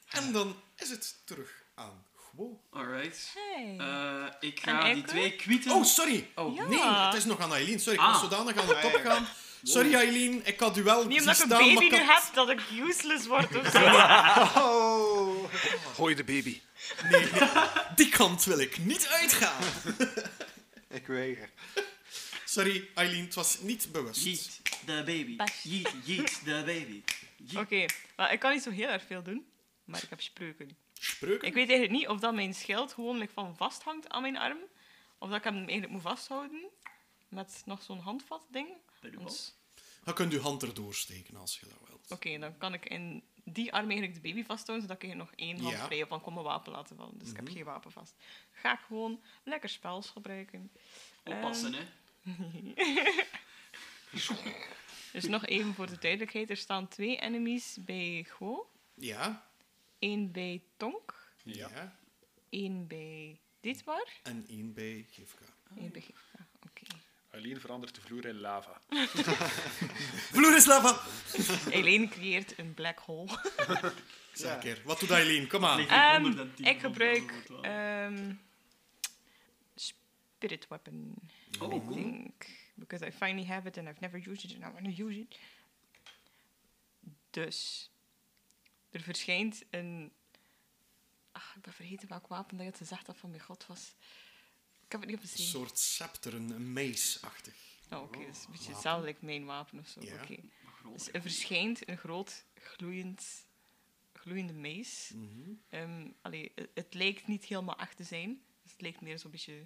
En dan is het terug aan Gwo. Alright. Hey. Eh, ik En ga die Eike? twee kwieten... Oh, sorry. Oh. Ja. Nee, het is nog aan Aileen. Sorry, ik Ah. was zodanig aan de top gaan. Sorry Aileen, ik had u wel Niet zien omdat ik een staan, dus maar baby ik nu had- heb, dat ik useless word of zo. Gooi de baby. Die kant wil ik niet uitgaan. (laughs) Ik weiger. Sorry, Eileen, het was niet bewust. Yeet the baby. Pas. Yeet, yeet the baby. Yeet. Oké, maar ik kan niet zo heel erg veel doen. Maar ik heb spreuken. Spreuken? Ik weet eigenlijk niet of dat mijn schild gewoon like, van vasthangt aan mijn arm. Of dat ik hem eigenlijk moet vasthouden. Met nog zo'n handvat ding. Bij de Want- Dan kunt u hand erdoor steken als je dat wilt. Oké, dan kan ik in die arm eigenlijk de baby vasthouden, zodat ik er nog één hand Ja. vrij heb. Dan kon mijn wapen laten vallen, dus ik heb geen wapen vast. Ga ik gewoon lekker spels gebruiken. eh, Oppassen, hè. Dus nog even voor de duidelijkheid, er staan twee enemies bij Go. Ja? Eén bij Tonk, Ja. één bij Ditmar, En één bij Gifka. Ah. één bij Gifka. Oké. Aileen verandert de vloer in lava. Vloer is lava! Eileen creëert een black (laughs) hole. Zeg een keer, wat doet Eileen? Kom aan. Ligt hier Ehm, 110 ik van gebruik Brazil, het wel. ehm Spirit Weapon. Oh, I cool. think because I finally have it and I've never used it and I want to use it. Dus er verschijnt een. Ach, ik ben vergeten welk wapen dat je gezegd had van mijn god was. Ik heb het niet op Een gezien. soort scepter, een mace-achtig. Oh, oké, dat is een beetje hetzelfde like mijn wapen of zo. Ja. Oké. groter. Dus er verschijnt een groot gloeiend, gloeiende mees. Mhm. Ehm, allee, het, het lijkt niet helemaal echt te zijn. Dus het lijkt meer zo'n beetje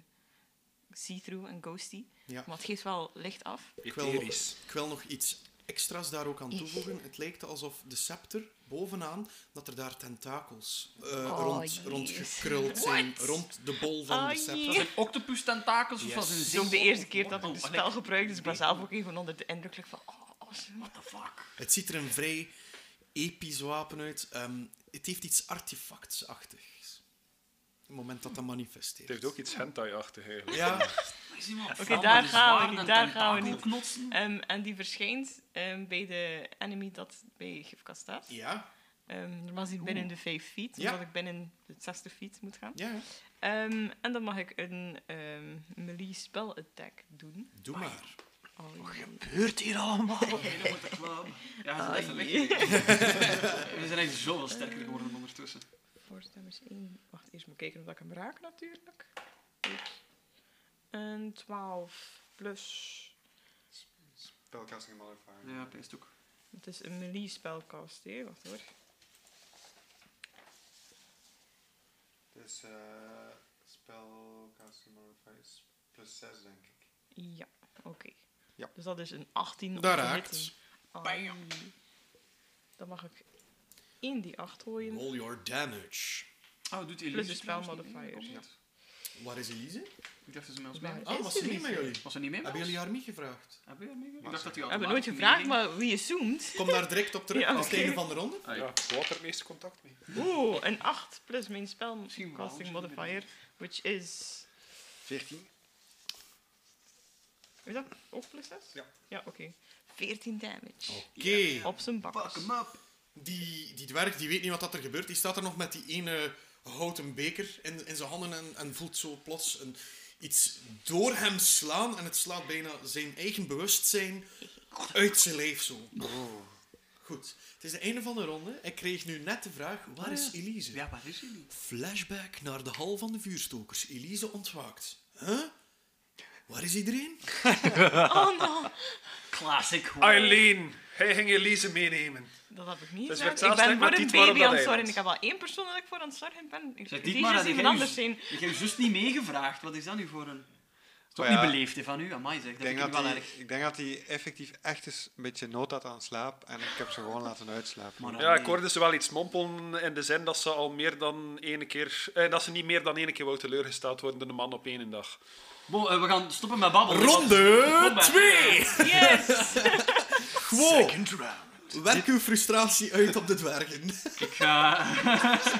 see-through en ghosty. Ja. Maar het geeft wel licht af. Ik wil, nog, Etherisch. ik wil nog iets extra's daar ook aan toevoegen. Het lijkt alsof de scepter bovenaan, dat er daar tentakels eh, rond, jeez. rond gekruld zijn. Rond de bol van Ah, de scepter. jee. Octopus tentakels of Yes. was een Het is ook de eerste keer dat ik Oh, het allee. spel gebruik, dus ik ben zelf ook even onder de indruk like van... Oh, awesome. What the fuck? Het ziet er een vrij episch wapen uit. Ehm, het heeft iets artefactsachtigs. Op het moment dat dat manifesteert. Het heeft ook iets hentai-achtig eigenlijk. Ja, Oké, daar gaan we niet, daar gaan we niet. Knotsen. Ehm, en die verschijnt ehm, bij de enemy dat bij Gifka staat. ja. Ehm normaal gezien binnen de 5 feet, Ja. omdat ik binnen de 60 feet moet gaan. Ja, ja. Ehm, en dan mag ik een ehm melee spell attack doen. doe maar. Oh, Gebeurt hier allemaal? Helemaal met de club. Ja, ze Ah, zijn even weg. jee. (laughs) We zijn echt zoveel sterker geworden ondertussen. Force damage 1. Wacht, eerst moet ik kijken of dat ik hem raak natuurlijk. Oeps. Een 12 plus. Spellcasting modifier. Ja, peest ook. Het is een melee spellcast, hè? Wacht hoor. Dus eh spellcasting modifier is plus 6, denk ik. Ja, oké. Ja. Dus dat is een 18 om Dat te raakt. hitten. Ai. Dan mag ik 1 die 8 gooien. Roll your damage. Oh, doet Elise Plus de trouwens niet spelmodifier, mee? Komt ja. niet. Waar is Elise? Ik dacht dat ze met ons Waar? mee was. Ah, was ze niet met jullie? Was ze niet mee met Hebben ons? jullie haar niet gevraagd? Hebben jullie haar meegemaakt? Maar Ik dacht ze- dat die We hebben nooit automatisch gevraagd, meeging. maar wie assumed? Kom daar direct op terug. Ja, Dat is oké. het einde van de ronde. Ah, Ja, ik had er het meeste contact mee. Oeh, een 8 plus mijn Misschien wel, spellcasting misschien modifier, which is... 14. Is dat ook plus 6? Ja. Ja, oké. 14 damage. Oké. Op zijn Fuck bakkers. hem up. Die, die dwerg die weet niet wat dat er gebeurt. Die staat er nog met die ene houten beker in, in zijn handen en, en voelt zo plots een, iets door hem slaan. En het slaat bijna zijn eigen bewustzijn uit zijn lijf zo. Goed. Het is de einde van de ronde. Ik kreeg nu net de vraag, waar is Elise? Ah, Ja, waar is jullie? Flashback naar de hal van de vuurstokers. Elise ontwaakt. Huh? Waar is iedereen? Oh no! Classic hoor. Eileen, hij ging Elise meenemen. Dat heb ik niet Dus gedaan. werd zelfs Ik ben niet voor met een Dietmar op baby dat aan het zorgen. eiland. Ik heb al één persoon dat ik voor aan het zorgen ben. Ik- Zeg, Die Dietmar, is dat iemand anders zijn. Ik heb juist niet meegevraagd. Wat is dat nu voor een... Dat is Oh ook ja. niet beleefd hè, van u. Amai zeg, dat Ik denk, vind ik dat wel die, erg. ik denk dat hij effectief echt eens een beetje nood had aan slaap en ik heb ze gewoon laten uitslapen. Maar Ja, nee. ik hoorde ze wel iets mompelen in de zin dat ze al meer dan ene keer... Eh, dat ze niet meer dan ene keer wou teleurgesteld worden door een man op één dag. Bon, eh, we gaan stoppen met babbelen. Ronde Combat. 2! Yes! Wow! Second round. Werk uw frustratie uit op de dwergen. Ik ga... (laughs)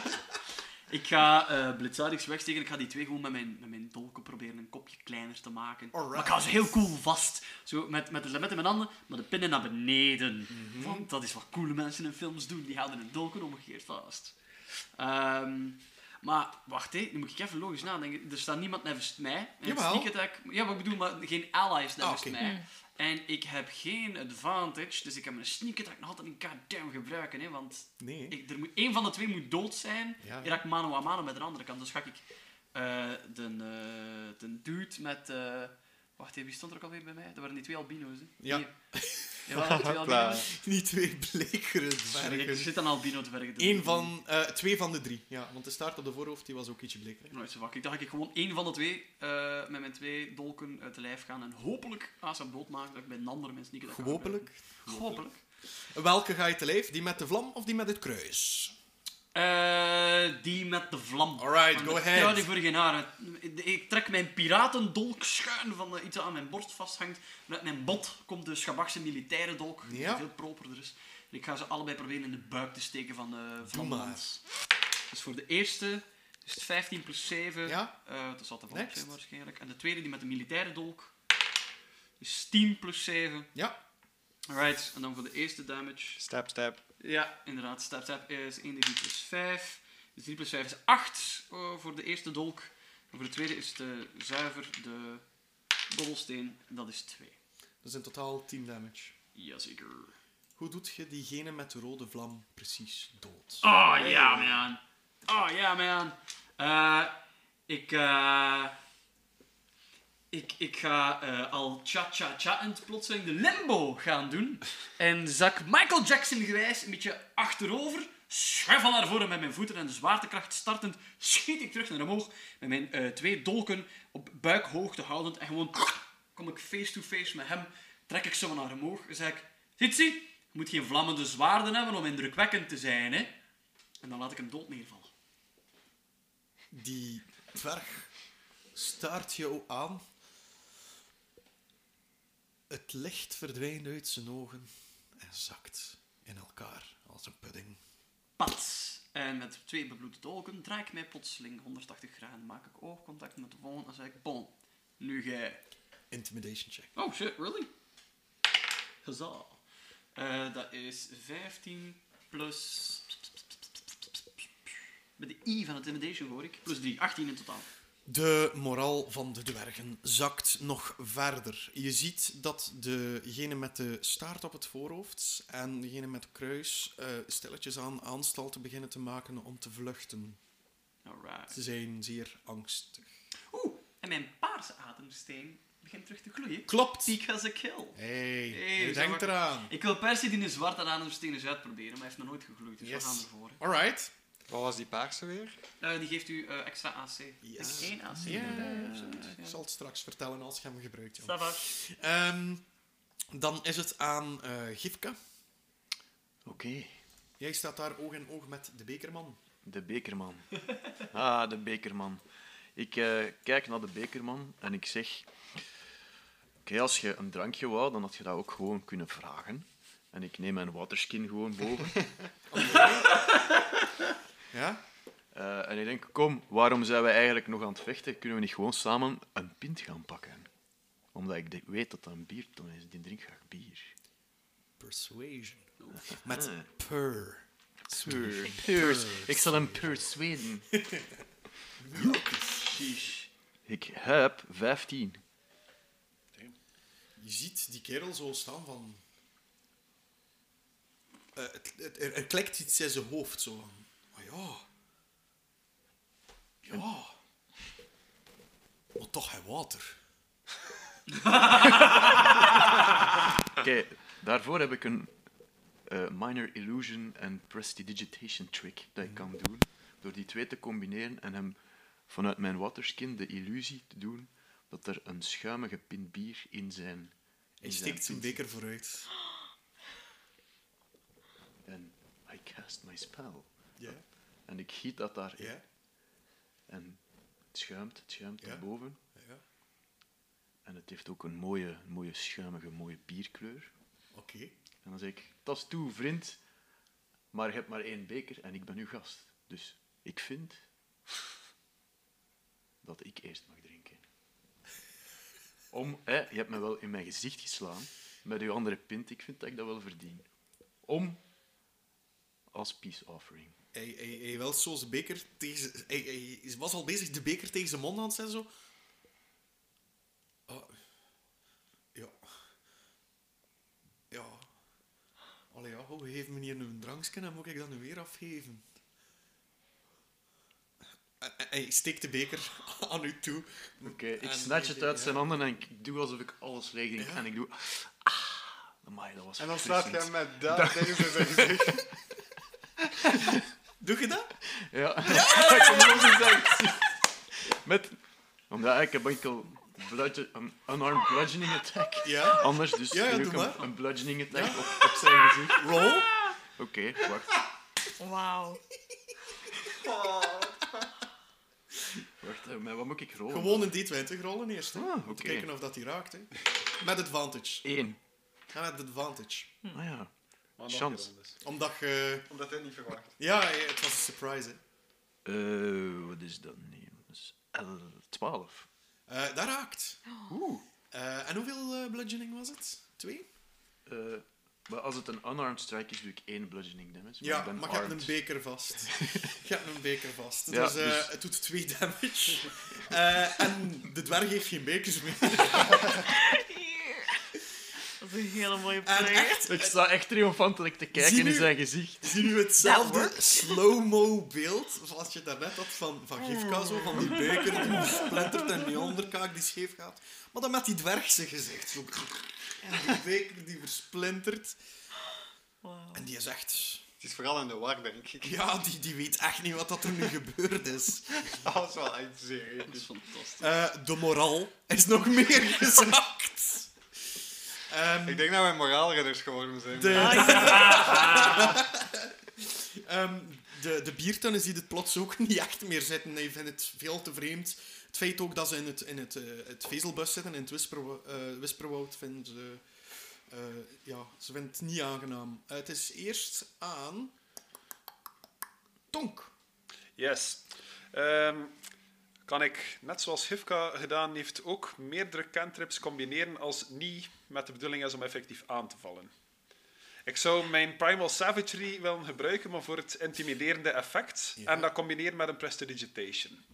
ik ga eh blitzaardigs wegsteken. Ik ga die twee gewoon met mijn, met mijn dolken proberen een kopje kleiner te maken. Alright. Maar ik hou ze heel cool vast. Zo, met, met de lamet in mijn handen, maar de pinnen naar beneden. Mhm. Want dat is wat coole mensen in films doen. Die houden hun dolken omgekeerd vast. Ehm, maar wacht, hé, nu moet ik even logisch nadenken. Er staat niemand nevens mij. En Jawel. sneak attack- ja, maar ik bedoel, maar geen allies nevens Ah, oké. mij. En ik heb geen advantage, dus ik heb mijn sneak attack nog altijd in goddamn gebruiken. Hè, want Nee. ik, er moet, één van de twee moet dood zijn. Ja. Ik raak mano a mano met de andere kant. Dus ga ik eh de, eh, de dude met... eh, wacht even, wie stond er ook alweer bij mij? Dat waren die twee albino's. Hè? Ja. (laughs) Hier. Jawel, (laughs) twee Hopla. albino's. Die twee blekere Sorry, Er dwergen. zit een albino dwerg. Eén van, eh, twee van de drie. Ja, want de staart op de voorhoofd die was ook ietsje bleker. Ik ben nooit zo wakker. Ik dacht dat ik gewoon één van de twee eh, met mijn twee dolken uit de lijf gaan. En hopelijk, als ze hem doodmaken, dat ik bij een andere mens niet kan Hopelijk. gebruiken. Hopelijk. Welke ga je te lijf? Die met de vlam of die met het kruis? Eh, die met de vlam. Alright, Want go ik ahead. trouw die voor geen haar. Ik trek mijn piratendolk schuin van eh, iets dat aan mijn borst vasthangt. En uit mijn bot komt de Schabakse militaire dolk, Ja. die veel properder is. En ik ga ze allebei proberen in de buik te steken van de Vlaamlands. Dus voor de eerste is het 15 plus 7. Ja. Eh, dat zal te vallen Next. zijn waarschijnlijk. En de tweede, die met de militaire dolk, is 10 plus 7. Ja. Alright, en dan voor de eerste damage. Stap, stap. Ja, inderdaad. Step Step is 1 d plus 5. Dus 3 plus 5 is 8 eh, voor de eerste dolk. En voor de tweede is de zuiver, de dobbelsteen. Dat is 2. Dat is in totaal 10 damage. Jazeker. Hoe doet je diegene met de rode vlam precies dood? Oh ja, man. Oh ja, man. Eh, ik, eh, ik, ik ga eh, al cha-cha-cha en plotseling de limbo gaan doen. En zak Michael Jackson gewijs een beetje achterover. Schuifel naar voren met mijn voeten en de zwaartekracht startend schiet ik terug naar omhoog. Met mijn eh, twee dolken op buikhoogte houdend. En gewoon kom ik face-to-face met hem. Trek ik zo naar omhoog en zeg ik... Titsi, je moet geen vlammende zwaarden hebben om indrukwekkend te zijn, hè. En dan laat ik hem dood neervallen. Die dwerg staart jou aan. Het licht verdwijnt uit zijn ogen en zakt in elkaar als een pudding. Pats! En met twee bebloede dolken draai ik mij plotseling 180 graden. Maak ik oogcontact met de volgende en zeg ik... Bon, nu jij. Intimidation check. Oh shit, really? Huzzah. Eh, dat is 15 plus Met de I van het Intimidation hoor ik. Plus 3, 18 in totaal. De moraal van de dwergen zakt nog verder. Je ziet dat degene met de staart op het voorhoofd en degene met de kruis eh, stilletjes aan aanstalten beginnen te maken om te vluchten. Alright. Ze zijn zeer angstig. Oeh, en mijn paarse ademsteen begint terug te gloeien. Klopt! Seek as a kill. Hey, Hey, je we zijn denkt wakker. eraan. Ik wil per se die zwarte ademsteen eens uitproberen, maar hij heeft nog nooit gegloeid, dus Yes. we gaan ervoor. hè. Alright. Wat was die paarse weer? Eh, die geeft u eh, extra AC. Yes. Het is één AC. Ja, erbij of zoiets, Ik ja. zal het straks vertellen als je hem gebruikt. Jan. Ça va. Ehm, dan is het aan eh Gifka. Oké, Jij staat daar oog in oog met de bekerman. de bekerman. (laughs) Ah, de bekerman. Ik eh, kijk naar de bekerman en ik zeg... Oké, als je een drankje wou, dan had je dat ook gewoon kunnen vragen. En ik neem mijn waterskin gewoon boven. Ja? Eh, en ik denk, kom, waarom zijn we eigenlijk nog aan het vechten? Kunnen we niet gewoon samen een pint gaan pakken? Omdat ik de- weet dat dat een bierton is. Die drinkt graag bier. Persuasion. Met (laughs) purr. Pur. Ik zal hem persuaden. Sheesh. Ik heb 15. Je ziet die kerel zo staan van... Eh, het, het- er, er klikt iets in zijn hoofd zo van... Oh ja. Ja. Maar toch, hij water. Oké, daarvoor heb ik een eh, minor illusion en prestidigitation trick dat ik kan doen. Door die twee te combineren en hem vanuit mijn waterskin de illusie te doen dat er een schuimige pint bier in zijn. Hij in steekt zijn pint beker vooruit. En I cast my spell. Ja, En ik giet dat daarin. ja, En het schuimt, het schuimt Ja. naar boven. ja. En het heeft ook een mooie, mooie schuimige, mooie bierkleur. Oké. En dan zeg ik, tas toe, vriend. Maar je hebt maar één beker en ik ben uw gast. Dus ik vind dat ik eerst mag drinken. Om, hè, je hebt me wel in mijn gezicht geslaan met uw andere pint. Ik vind dat ik dat wel verdien. Om als peace offering. Hij, hij, hij wil zo zijn beker tegen... zijn- Hij, hij was al bezig de beker tegen zijn mond aan te zetten, zo. Ah, ja. Ja. Allee, ja, hoe geef me hier nu een drankje en moet ik dat nu weer afgeven? En- en Hij steekt de beker (laughs) aan u toe. Oké, ik En snatch het deze- uit ja. zijn handen en ik doe alsof ik alles leeg drink. Ja. En ik doe... Ah, amai, dat was En dan slaat hij hem verfrissend. (laughs) met dat ding in zijn gezicht. Doe je dat? Ja. (laughs) Ik moet het zeggen. Met... Omdat ik heb enkel bludge- een unarmed bludgeoning attack. Ja. Anders dus Ja, ja, doe doe ik maar. een, een bludgeoning attack op, op zijn gezicht. Roll. Oké, wacht. Wauw. Wacht, eh, maar wat moet ik rollen? Gewoon een D20 rollen eerst. Hè. Ah, Om te oké. kijken of dat die raakt. Hè. Met advantage. Eén. Ga met advantage. Ah ja. Maar nog Chance. een keer anders. Omdat je... Omdat hij het niet verwacht. Ja, het was een surprise, hè. Eh, wat is dat? Nee, dat is L12. Eh, dat raakt. Eh, en hoeveel eh, bludgeoning was het? Twee? Eh, maar als het een unarmed strike is, doe ik één bludgeoning damage. Ja, ik ben maar je hebt armed. een beker vast. (laughs) je hebt een beker vast. Ja, dus, eh, dus- het doet twee damage. Eh, en de dwerg heeft geen bekers (laughs) meer. Dat is een hele mooie En plek. echt, Ik sta echt triomfantelijk te kijken nu- in zijn (laughs) gezicht. zie nu hetzelfde slow-mo beeld Nou, zoals je daarnet had van, van Gifka, zo, van die beker die splattert en die onderkaak die scheef gaat. Maar dan met die dwergse gezicht. Zo. En die beker die versplintert. Wauw. En die is echt... Het is vooral in de war, denk ik. Ja, die, die weet echt niet wat dat er (laughs) nu gebeurd is. Dat is wel echt serieus. Dat is fantastisch. Eh, de moraal is nog meer gezakt. Ehm, Ik denk dat wij moraalridders geworden zijn. de, (laughs) Ehm, de, de biertunnen ziet het plots ook (laughs) niet echt meer zitten. Hij vindt het veel te vreemd. Het feit ook dat ze in het, in het, eh, het vezelbus zitten, in het Wisperwo- eh, Wisperwoud, vinden ze... eh, ja, ze vindt het niet aangenaam. Eh, het is eerst aan... Tonk. Yes. Ehm, kan ik, net zoals Hivka gedaan heeft, ook meerdere cantrips combineren als niet met de bedoeling is om effectief aan te vallen. Ik zou mijn Primal Savagery willen gebruiken, maar voor het intimiderende effect. Ja. En dat combineer met een Prestidigitation.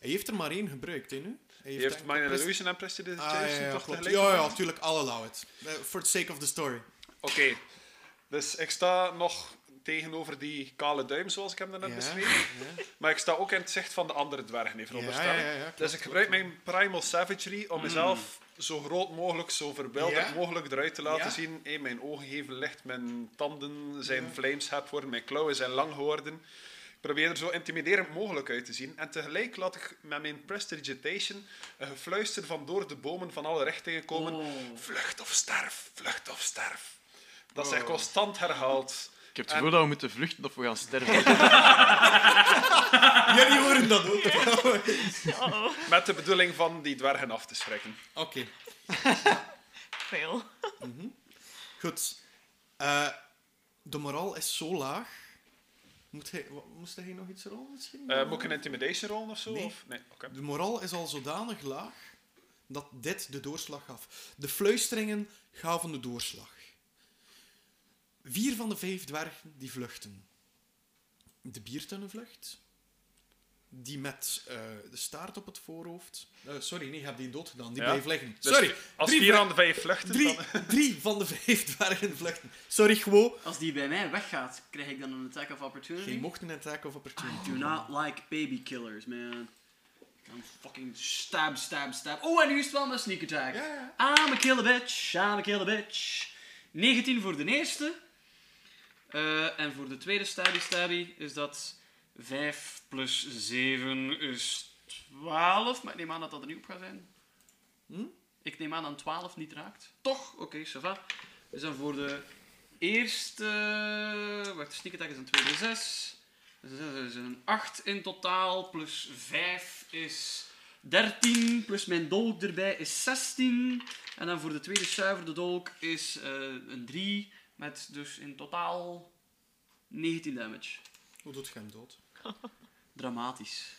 Hij heeft er maar één gebruikt, hè, nu? Hij Je heeft enkel Minor pres- Illusion en Ah, Prestidigitation ja, ja, toch klopt. tegelijk? Ja, ja, natuurlijk, all allow it. Eh, For the sake of the story. Oké. Dus ik sta nog tegenover die kale duim, zoals ik hem daarnet Ja, beschreef. Maar ik sta ook in het zicht van de andere dwergen, even veronderstel ik. ja, ja, klopt, Mm. dus ik gebruik mijn Primal Savagery om mezelf zo groot mogelijk, zo verbeeldend Ja. mogelijk eruit te laten Ja. zien. Hey, mijn ogen geven licht, mijn tanden zijn vlijmscherp geworden, mijn klauwen zijn lang geworden. Ik probeer er zo intimiderend mogelijk uit te zien. En tegelijk laat ik met mijn Prestidigitation een gefluister van door de bomen van alle richtingen komen. Oh. Vlucht of sterf, vlucht of sterf. Dat zij constant herhaalt. Ik heb het gevoel dat we moeten vluchten of we gaan (laughs) sterven. Jullie horen dat ook. (laughs) Oké. Met de bedoeling van die dwergen af te schrikken. Veel. Goed. Eh, de moraal is zo laag. Moet hij, wa- moest hij nog iets rollen misschien? Eh, moet ik een intimidation rollen of zo? Nee. Of? nee oké. De moraal is al zodanig laag dat dit de doorslag gaf. De fluisteringen gaven de doorslag. Vier van de vijf dwergen die vluchten. De biertunnenvlucht. Die met eh, de staart op het voorhoofd. Eh, sorry, nee, ik heb die dood gedaan. Die Ja. bleef liggen. Dus Sorry. Als drie, vier vlug- aan de vijf vluchten, drie, dan... drie van de vijf dwergen vluchten. Sorry, gewoon. Als die bij mij weggaat, krijg ik dan een attack of opportunity? Geen mocht een attack of opportunity. I do not like baby killers, man. I'm fucking stab, stab, stab. Oh, en nu is het wel mijn sneak attack. Ja, ja. I'm a killer bitch, I'm a killer bitch. 19 voor de eerste. Eh, en voor de tweede stabby stabby is dat 5 plus 7 is 12. Maar ik neem aan dat dat er niet op gaat zijn. Hm? Ik neem aan dat een 12 niet raakt. Toch? Oké, ça va. Dus dan voor de eerste... Wacht, sneak attack is een 2 d 6. Dus dat is een 8 in totaal, plus 5 is 13, plus mijn dolk erbij is 16. En dan voor de tweede zuiver, de dolk, is eh, een 3, met dus in totaal 19 damage. Hoe doet je hem dood? (laughs) Dramatisch.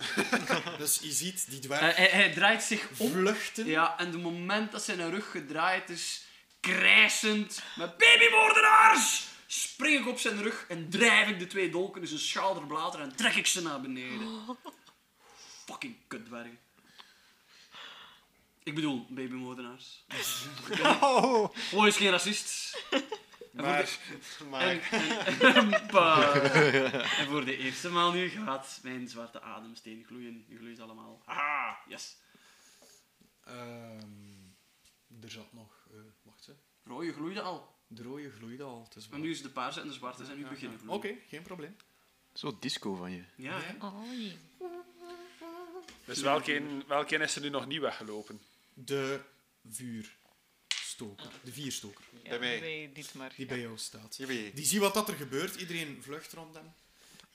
Dus je ziet die Hij- dwerg hij, hij draait zich om. vluchten. Ja, en het moment dat zijn rug gedraaid is, krijsend, met babymoordenaars, spring ik op zijn rug en drijf ik de twee dolken in zijn schouderbladen en trek ik ze naar (laughs) beneden. Fucking kutdwergen. Ik bedoel, babymoordenaars. Gewoon is geen racist. Maar, En, en- bah. en voor de eerste maal nu gaat mijn zwarte ademsteen gloeien. Nu gloeit allemaal. Haha, yes. Ehm, er zat nog... eh, wacht, hè. Rooie gloeide al. De rode gloeide al. Het is Maar wel- nu is de paarse en de zwarte zijn nu beginnen Oké, gloeien. geen probleem. Zo disco van je. Ja, Ja. Oh, jee. dus welke, een- welke een is er nu nog niet weggelopen? De vuurstoker. De vierstoker. Ja, Bij mij. bij dit maar. Die bij jou staat. Jawee. Die ziet wat dat er gebeurt. Iedereen vlucht rond hem.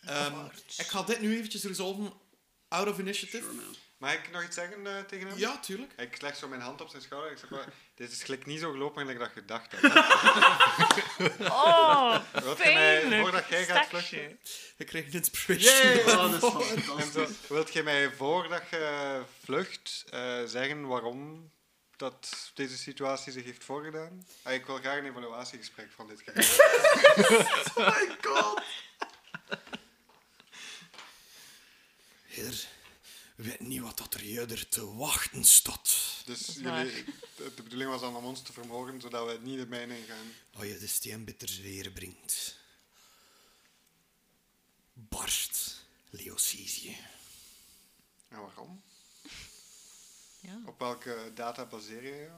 Ehm, ik ga dit nu eventjes resolven. Out of initiative. sure man. Mag ik nog iets zeggen eh, tegen hem? ja, tuurlijk. Ik leg zo mijn hand op zijn schouder. Ik zeg maar, dit is gelijk niet zo gelopen gelijk dat je dacht had. Oh, (laughs) Wat je mij, pijnlijk. voordat jij gaat vluchten... Stakje. Ik krijg een (laughs) inspiration. Oh, dat is En zo, fantastisch. wilt je mij voordat je vlucht eh, zeggen waarom dat deze situatie zich heeft voorgedaan? Ah, ik wil graag een evaluatiegesprek van dit gegeven. (laughs) Heer, weet niet wat dat er jeder te wachten staat. Dus is waar. jullie, de de bedoeling was dan om ons te vermogen, zodat we niet de mijne ingaan. Als je Oh de steenbitters weer brengt. Barst, Leocisië. En waarom? Ja. Op welke data baseer je je?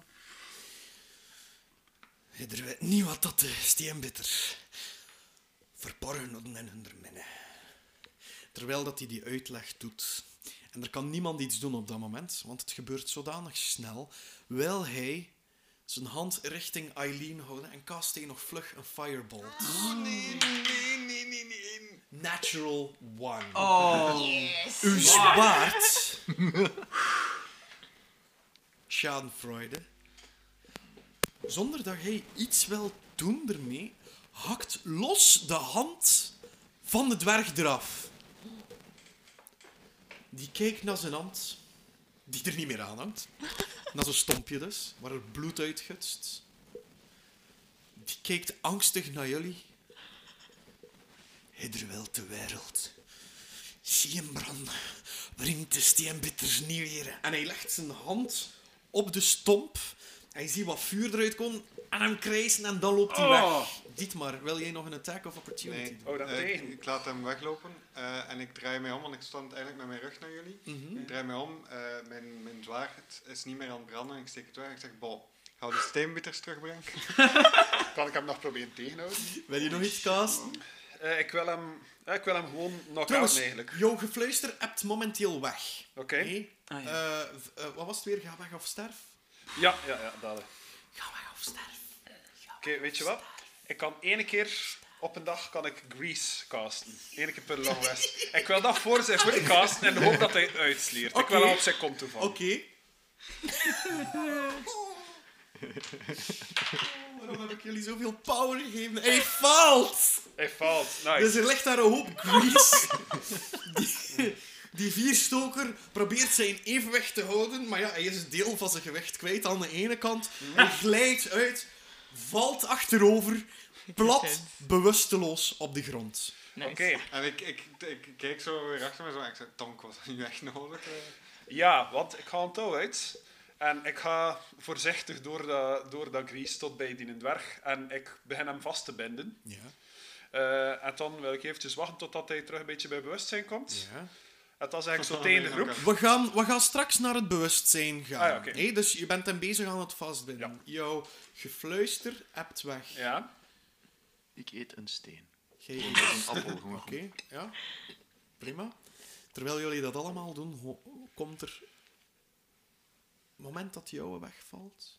Er weet niet wat dat de steenbitters verborgen hadden in hun minnen. Terwijl dat hij die uitleg doet. En er kan niemand iets doen op dat moment, want het gebeurt zodanig snel. Wil hij zijn hand richting Eileen houden en cast hij nog vlug een fireball. Oh, Nee, nee, nee, nee, nee. Natural one. Oh, Uw zwaard. (laughs) Schadenfreude. Zonder dat hij iets wil doen ermee, hakt los de hand van de dwerg eraf. Die kijkt naar zijn hand, die er niet meer aan hangt. Naar zo'n stompje dus, waar er bloed uitgutst. Die kijkt angstig naar jullie. Hidderwelt de wereld. Zie hem brand. Brengt de steen bitter niet weer. En hij legt zijn hand op de stomp. Hij ziet wat vuur eruit komt. En hem krijsen en dan loopt hij Oh. weg. Dietmar, wil jij nog een attack of opportunity Nee, doen? Oh, dat eh, ik, meteen. ik laat hem weglopen eh, en ik draai mij om, want ik stond eigenlijk met mijn rug naar jullie. Mhm. Ik draai mij om, eh, mijn, mijn zwaard is niet meer aan het branden en ik steek het weg en ik zeg, bol, hou die steenbitters terugbrengen. (laughs) Kan ik hem nog proberen tegenhouden? Wil je nog iets casten? Eh, ik, wil hem, eh, ik wil hem gewoon knock-out Trouwens, eigenlijk. jouw gefluister hebt momenteel weg. Oké. Oké? Ah, ja. Eh, v- eh, wat was het weer? Ga weg of sterf? Ja, ja, ja, dadelijk. Ga weg of sterf. Oké, weet je wat? Ik kan ene keer op een dag kan ik Grease casten. Eén keer per long rest. (laughs) ik wil dat voor zijn voor casten en hoop dat hij uitsleert. Ik Oké. wil hem op zijn kont toe vallen. Oké. (laughs) Waarom heb ik jullie zoveel power gegeven? Hij faalt! Hij faalt. Nice. Dus er ligt daar een hoop grease. Die, die vierstoker probeert zijn evenwicht te houden, maar ja, hij is een deel van zijn gewicht kwijt aan de ene kant. Hij glijdt uit, valt achterover, plat, bewusteloos op de grond. Nice. Oké. en ik, ik, ik, keek zo weer achter me zo en ik zeg, Tonk, was dat nu echt nodig? Eh, Ja, want ik ga een touw uit. En ik ga voorzichtig door dat, door dat Grease tot bij die dwerg. En ik begin hem vast te binden. Ja. Eh, en dan wil ik eventjes wachten totdat hij terug een beetje bij bewustzijn komt. Ja. En dan zeg ik zo tegen de nee, groep. (laughs) oké. We gaan, we gaan straks naar het bewustzijn gaan. Ah ja, oké. Hé, dus je bent hem bezig aan het vastbinden. Ja. Jouw gefluister hebt weg. Ja. Ik eet een steen. Jij- Een appel gewoon. Oké, ja. Prima. Terwijl jullie dat allemaal doen, ho- komt er... Het moment dat jouw wegvalt...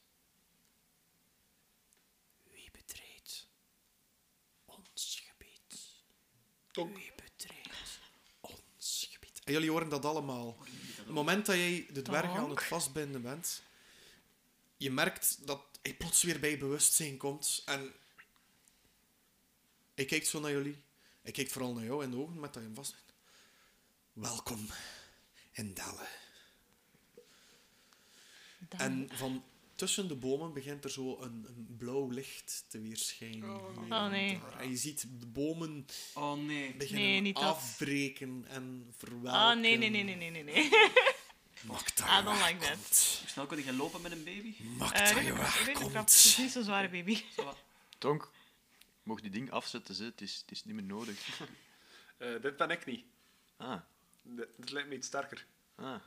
Wie betreedt ons gebied? Tonk. Wie betreedt ons gebied? En jullie horen dat allemaal. Het moment dat jij de dwerg aan het vastbinden bent, je merkt dat hij plots weer bij bewustzijn komt. En hij kijkt zo naar jullie. Hij kijkt vooral naar jou in de ogen met dat je hem vastzit. Welkom in Dalle. Dan- En van tussen de bomen begint er zo een, een blauw licht te weerschijnen. Oh, nee. En je ziet de bomen Oh nee. beginnen Nee, niet dat. afbreken en verwelken. Ah, nee, nee, Ah, nee, nee, nee, nee. (laughs) nee. Maak dat I je don't like that. wegkomt. Hoe snel kan je lopen met een baby? Maak Eh, dat je redelijk rap- redelijk rap. Het is wegkomt. niet zo'n zware baby. Tonk, mocht die ding afzetten, ze. Het, is, het is niet meer (laughs) nodig. Eh, dit ben ik niet. Ah, Dit, dit lijkt me iets sterker. ah.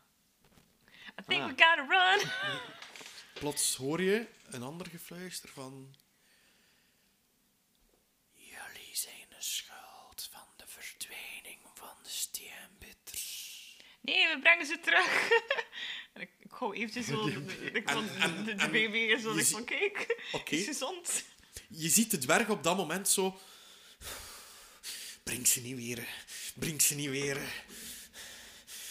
I think Ah. we gotta run. Plots hoor je een ander gefluister van... Jullie zijn de schuld van de verdwijning van de steenbitters. Nee, we brengen ze terug. (laughs) En ik, ik hou eventjes (laughs) zo... de- de- Ik vond en- de, de en- baby is zo... je Ik zie- van, kijk, Oké. is gezond. Je ziet de dwerg op dat moment zo... Breng ze niet weer. Breng ze niet weer.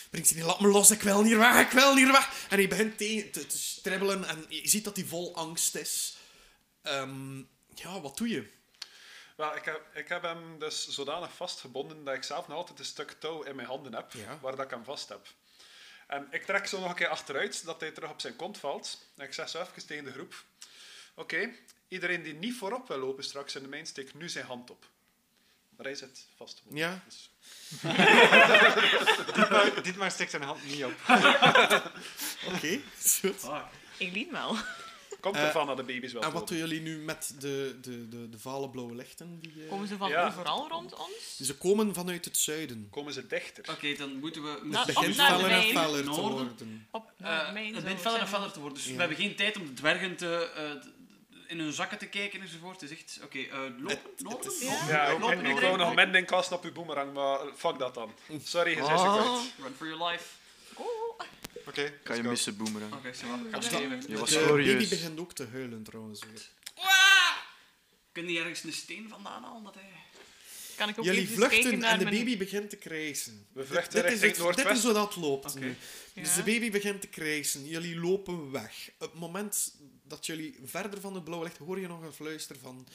Breng ze niet. Laat me los. Ik wil niet weg. Ik wil niet weg. En hij begint te, te, te stribbelen. En je ziet dat hij vol angst is. Ehm, ja, wat doe je? Wel, ik heb, ik heb hem dus zodanig vastgebonden dat ik zelf nog altijd een stuk touw in mijn handen heb, Ja. waar dat ik hem vast heb. En ik trek zo nog een keer achteruit, dat hij terug op zijn kont valt. En ik zeg zo even tegen de groep. Oké, iedereen die niet voorop wil lopen straks in de mijn, steekt nu zijn hand op. Maar hij zit vastgebonden. Ja. Dus- Dietmar, Dietmar steekt zijn hand niet op. Oké. (laughs) goed. Ah, Fuck. Eileen wel. Komt Eh, ervan dat de baby's wel En wat dood. doen jullie nu met de, de, de, de vale blauwe lichten? Die, eh, Komen ze van Ja. overal rond ons? Ze komen vanuit het zuiden. Komen ze dichter? Oké, dan moeten we... moeten Nou, we op Begint naar de feller en wijn. feller te Noorden. worden. Op Eh, naar mijn het zou begint feller en ik zeggen. feller te worden, dus we hebben geen tijd om de dwergen te, eh, t- t- in hun zakken te kijken enzovoort. Het is echt, oké, eh, lopen, lopen, is- lopen, Ja, ik, lopen, ik, ik iedereen. wou nog mending kasten op uw boomerang, maar fuck dat dan. Sorry, je zei ze Ah. kwijt. Run for your life. Oh, Oké, Kan je let's go. missen, boomerang. Oké, zo wat. Dus Ga dat- even. Je was de baby glorieus. begint ook te huilen trouwens. weer. Kun je ergens een steen vandaan halen? Dat eh, hij... Kan ik ook Jullie eventjes vluchten kijken naar en de mijn- baby begint te krijsen. We Dit- vluchten dit, is richting het- Dit Noordwest. is hoe dat loopt Oké. nu. Ja. Dus de baby begint te krijsen. Jullie lopen weg. Op het moment dat jullie verder van het blauwe licht hoor je nog een fluister van...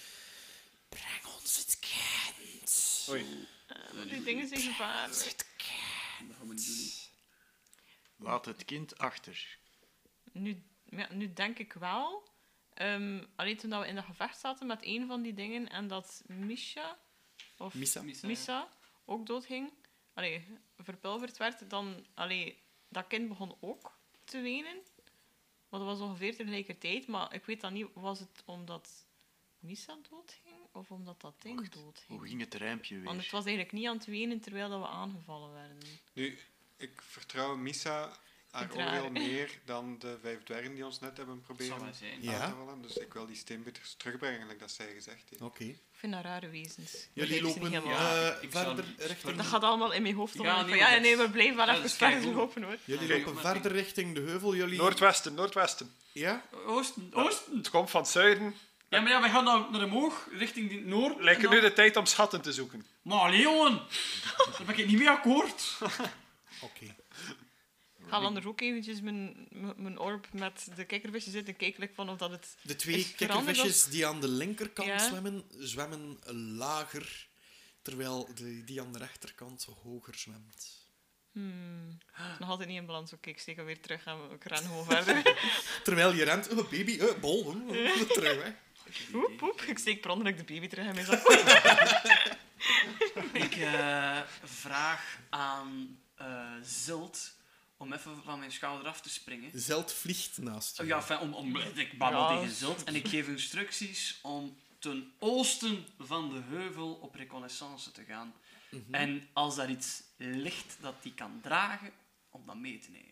Breng ons het kind. Oei. Die dingen zijn gevaarlijk. Het kind. Dat gaan we niet doen. Laat het kind achter. Nu, ja, nu denk ik wel. ehm, Ehm allee, toen dat we in dat gevecht zaten met een van die dingen en dat Misha, of Missa. Missa, Missa ook doodging, allee, verpulverd werd, dan allee, dat kind begon ook te wenen. Maar dat was ongeveer tegelijkertijd, maar ik weet dan niet, was het omdat Missa doodging of omdat dat ding Hoe doodging? ging het rijmpje weer? Want het was eigenlijk niet aan het wenen terwijl dat we aangevallen werden. Nu, ik vertrouw Misa haar Het raar. oordeel meer dan de vijf dwergen die ons net hebben Dat zal wel proberen zijn. Ja. aan te vallen. Dus ik wil die steenbitters terugbrengen, like dat zij gezegd heeft. Oké. Ik vind dat rare wezens. Jullie Begrijp ze lopen niet helemaal. Ja, eh, ik zou verder niet- richting... Dat gaat allemaal in mijn hoofd om. Ja, Ja, nee, nee, ja, dat- nee, we blijven wel dat even is verder keigoed. lopen hoor. Jullie Kijk, lopen maar- verder richting de heuvel. Jullie... Noordwesten, noordwesten. Ja? Oosten, oosten. Het komt van het zuiden. Ja, maar ja, wij gaan naar, naar omhoog, richting die noord. Lijkt en nu dan- de tijd om schatten te zoeken. Maar Leon, daar ben ik niet mee akkoord. Oké. Ik ga anders ook eventjes mijn, mijn- mijn orb met de kijkervisje zitten kijken like, van of dat het... De Is twee het veranderd kikkervisjes die aan de linkerkant Ja. zwemmen, zwemmen lager, terwijl de, die aan de rechterkant hoger zwemt. Hmm, Ah. het is nog altijd niet in balans. Oké, ik steek hem weer terug en ik ren gewoon (laughs) verder. Terwijl je rent, oh baby, eh, bol, oh, terug weg. Oep, oep. Ik steek per ongeluk de baby terug en mijn zak. (laughs) Ik eh, vraag aan eh, Zilt om even van mijn schouder af te springen. Zeld vliegt naast je. Oh, ja, enfin, om, om, ik babbel Ja. tegen Zilt en ik geef instructies om ten oosten van de heuvel op reconnaissance te gaan. En als daar iets ligt dat die kan dragen, om dat mee te nemen.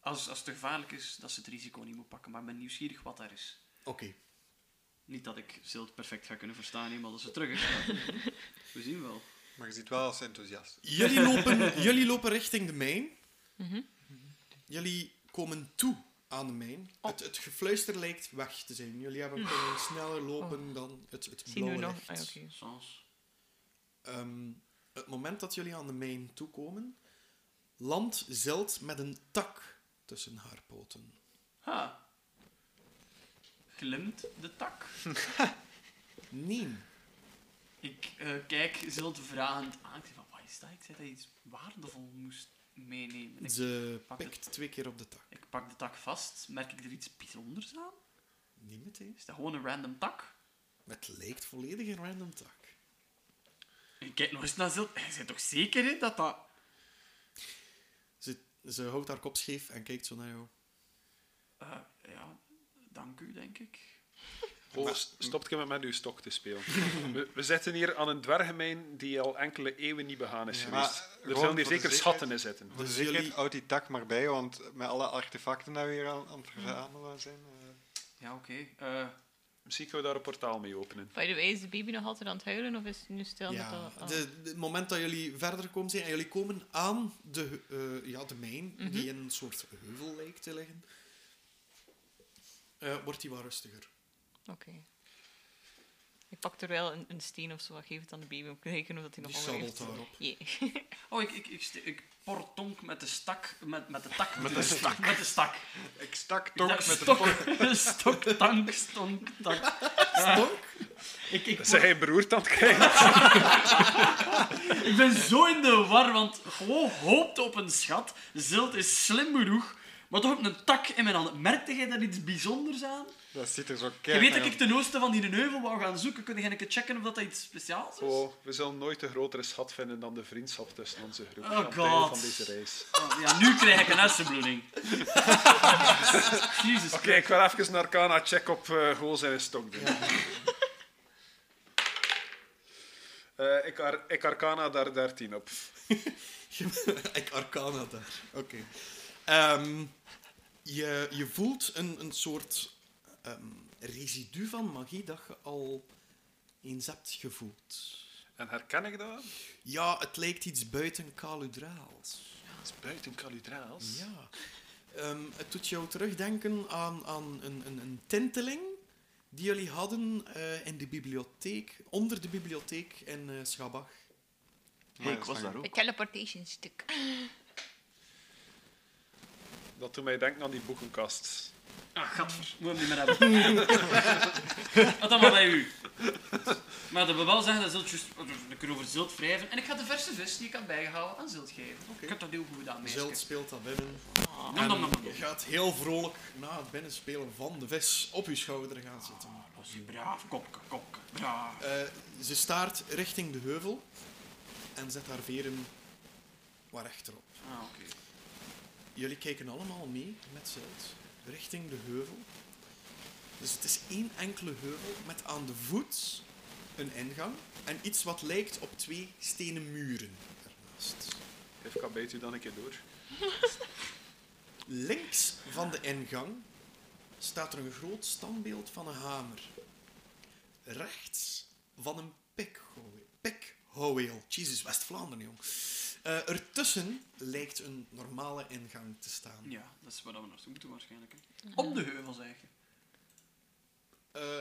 Als, als het te gevaarlijk is, dat ze het risico niet moet pakken, maar ik ben nieuwsgierig wat daar is. Oké. Niet dat ik Zilt perfect ga kunnen verstaan, eenmaal dat ze terug is. maar We zien wel. Maar je ziet wel als ze enthousiast. is. Jullie, lopen, jullie lopen richting de mijn. Jullie komen toe aan de mijn. Oh. Het, het gefluister lijkt weg te zijn. Jullie hebben kunnen sneller lopen dan het, het Oh. Zien we blauwe nog? licht. Ah, ja, oké. Sans. Ehm, het moment dat jullie aan de mijn toekomen, landt Zilt met een tak tussen haar poten. Ha. Glimt de tak. Nee. Ik eh, kijk Zilt vragend aan. Ik zeg van, wat is dat? Ik zei dat je iets waardevol moest meenemen. Ik, Ze pak het. pikt twee keer op de tak. ik pak de tak vast. Merk ik er iets bijzonders aan? Niet meteen. Is dat gewoon een random tak? Het lijkt volledig een random tak. Ik kijk nog eens naar Zilt. Hij zei toch zeker hè, dat dat... Ze, ze houdt haar kop scheef en kijkt zo naar jou. Eh, ja, dank u, denk ik. Oh, stopt ik met uw stok te spelen. (laughs) We, we zitten hier aan een dwergemijn die al enkele eeuwen niet begaan is geweest. Maar er gewoon zullen hier voor de zeker zekerheid- schatten in zitten. Voor de Dus zekerheid, jullie- houd die tak maar bij, want met alle artefacten die we hier aan, aan het Hmm. verzamelen zijn... eh, Ja, oké. Eh, Misschien kunnen we daar een portaal mee openen. By the way, is de baby nog altijd aan het huilen of is het nu stil? met Ja, dat, ah. de, de- het moment dat jullie verder komen zijn en jullie komen aan de, eh, ja, de mijn, Mhm. die in een soort heuvel lijkt te liggen, eh, wordt die wat rustiger. Ah, Oké. Ik pak er wel een, een steen of zo. en Geef het aan de baby om te kijken of dat hij Die nog honger sabbelt heeft. daarop. Yeah. oh, ik, ik, ik, st- ik portonk met de stak... Met, met de tak. Met (laughs) de stak. Met de stak. Ik stak Ik tonk dacht, met de stok, vork. (laughs) stok, tank, stonk, tank. Ik, ik, Zijn hij beroerd aan het krijgen? ik ben zo in de war, want gewoon hoopt op een schat. Zilt is slim genoeg, maar toch ook een tak in mijn handen. Merkte jij daar iets bijzonders aan? Dat ziet er zo je keihard weet dat ik ten oosten van die heuvel wou gaan zoeken. Kun je een keer checken of dat, dat iets speciaals is? Oh, we zullen nooit een grotere schat vinden dan de vriendschap tussen onze groep. Oh, aan het einde God. van deze reis. Oh, ja, nu krijg ik een hersenbloeding. Jezus Oké, ik ga even naar Kana check op eh hoe zijn stok doen. (laughs) Eh, ik, ar ik arcana daar 13 op. (laughs) ik arcana daar. Oké. Ehm, je, je voelt een, een soort ehm, residu van magie dat je al eens hebt gevoeld. En herken ik dat? Ja, het lijkt iets buiten kaludraals. Dat is buiten Caludraals. Ja. Ehm, het doet jou terugdenken aan, aan een, een, een tinteling die jullie hadden eh, in de bibliotheek, onder de bibliotheek in eh, Schabach. Hey, ik was daar ook. teleportation stuk. Dat doet mij denken aan die boekenkast. (laughs) Ah, gadver. Moet hem niet meer hebben. Wat dan maar bij u? Maar dat wil wel zeggen dat Zilt juist... We kunnen over Zilt wrijven. En ik ga de verse vis die ik had bijgehaald aan Zilt geven. Ik heb dat heel goed gedaan, meisje. Zeld speelt dat binnen. Nom, nom, En nom, nom, nom. je gaat heel vrolijk na het binnenspelen van de vis op je schouder gaan zitten. Dat is braaf. Kop, kop, braaf. Eh, ze staart richting de heuvel en zet haar veren waar rechterop. Ah, oké. Jullie kijken allemaal mee met Zeld richting de heuvel. Dus het is één enkele heuvel met aan de voet een ingang en iets wat lijkt op twee stenen muren ernaast. Even kan bijt u dan een keer door. Links van de ingang staat er een groot standbeeld van een hamer. Rechts van een pikhouweel. Pikhouweel. Jezus, West-Vlaanderen, jong. Eh ertussen lijkt een normale ingang te staan. Ja, dat is waar we naartoe moeten waarschijnlijk. Hè. Op de heuvel, zeg je.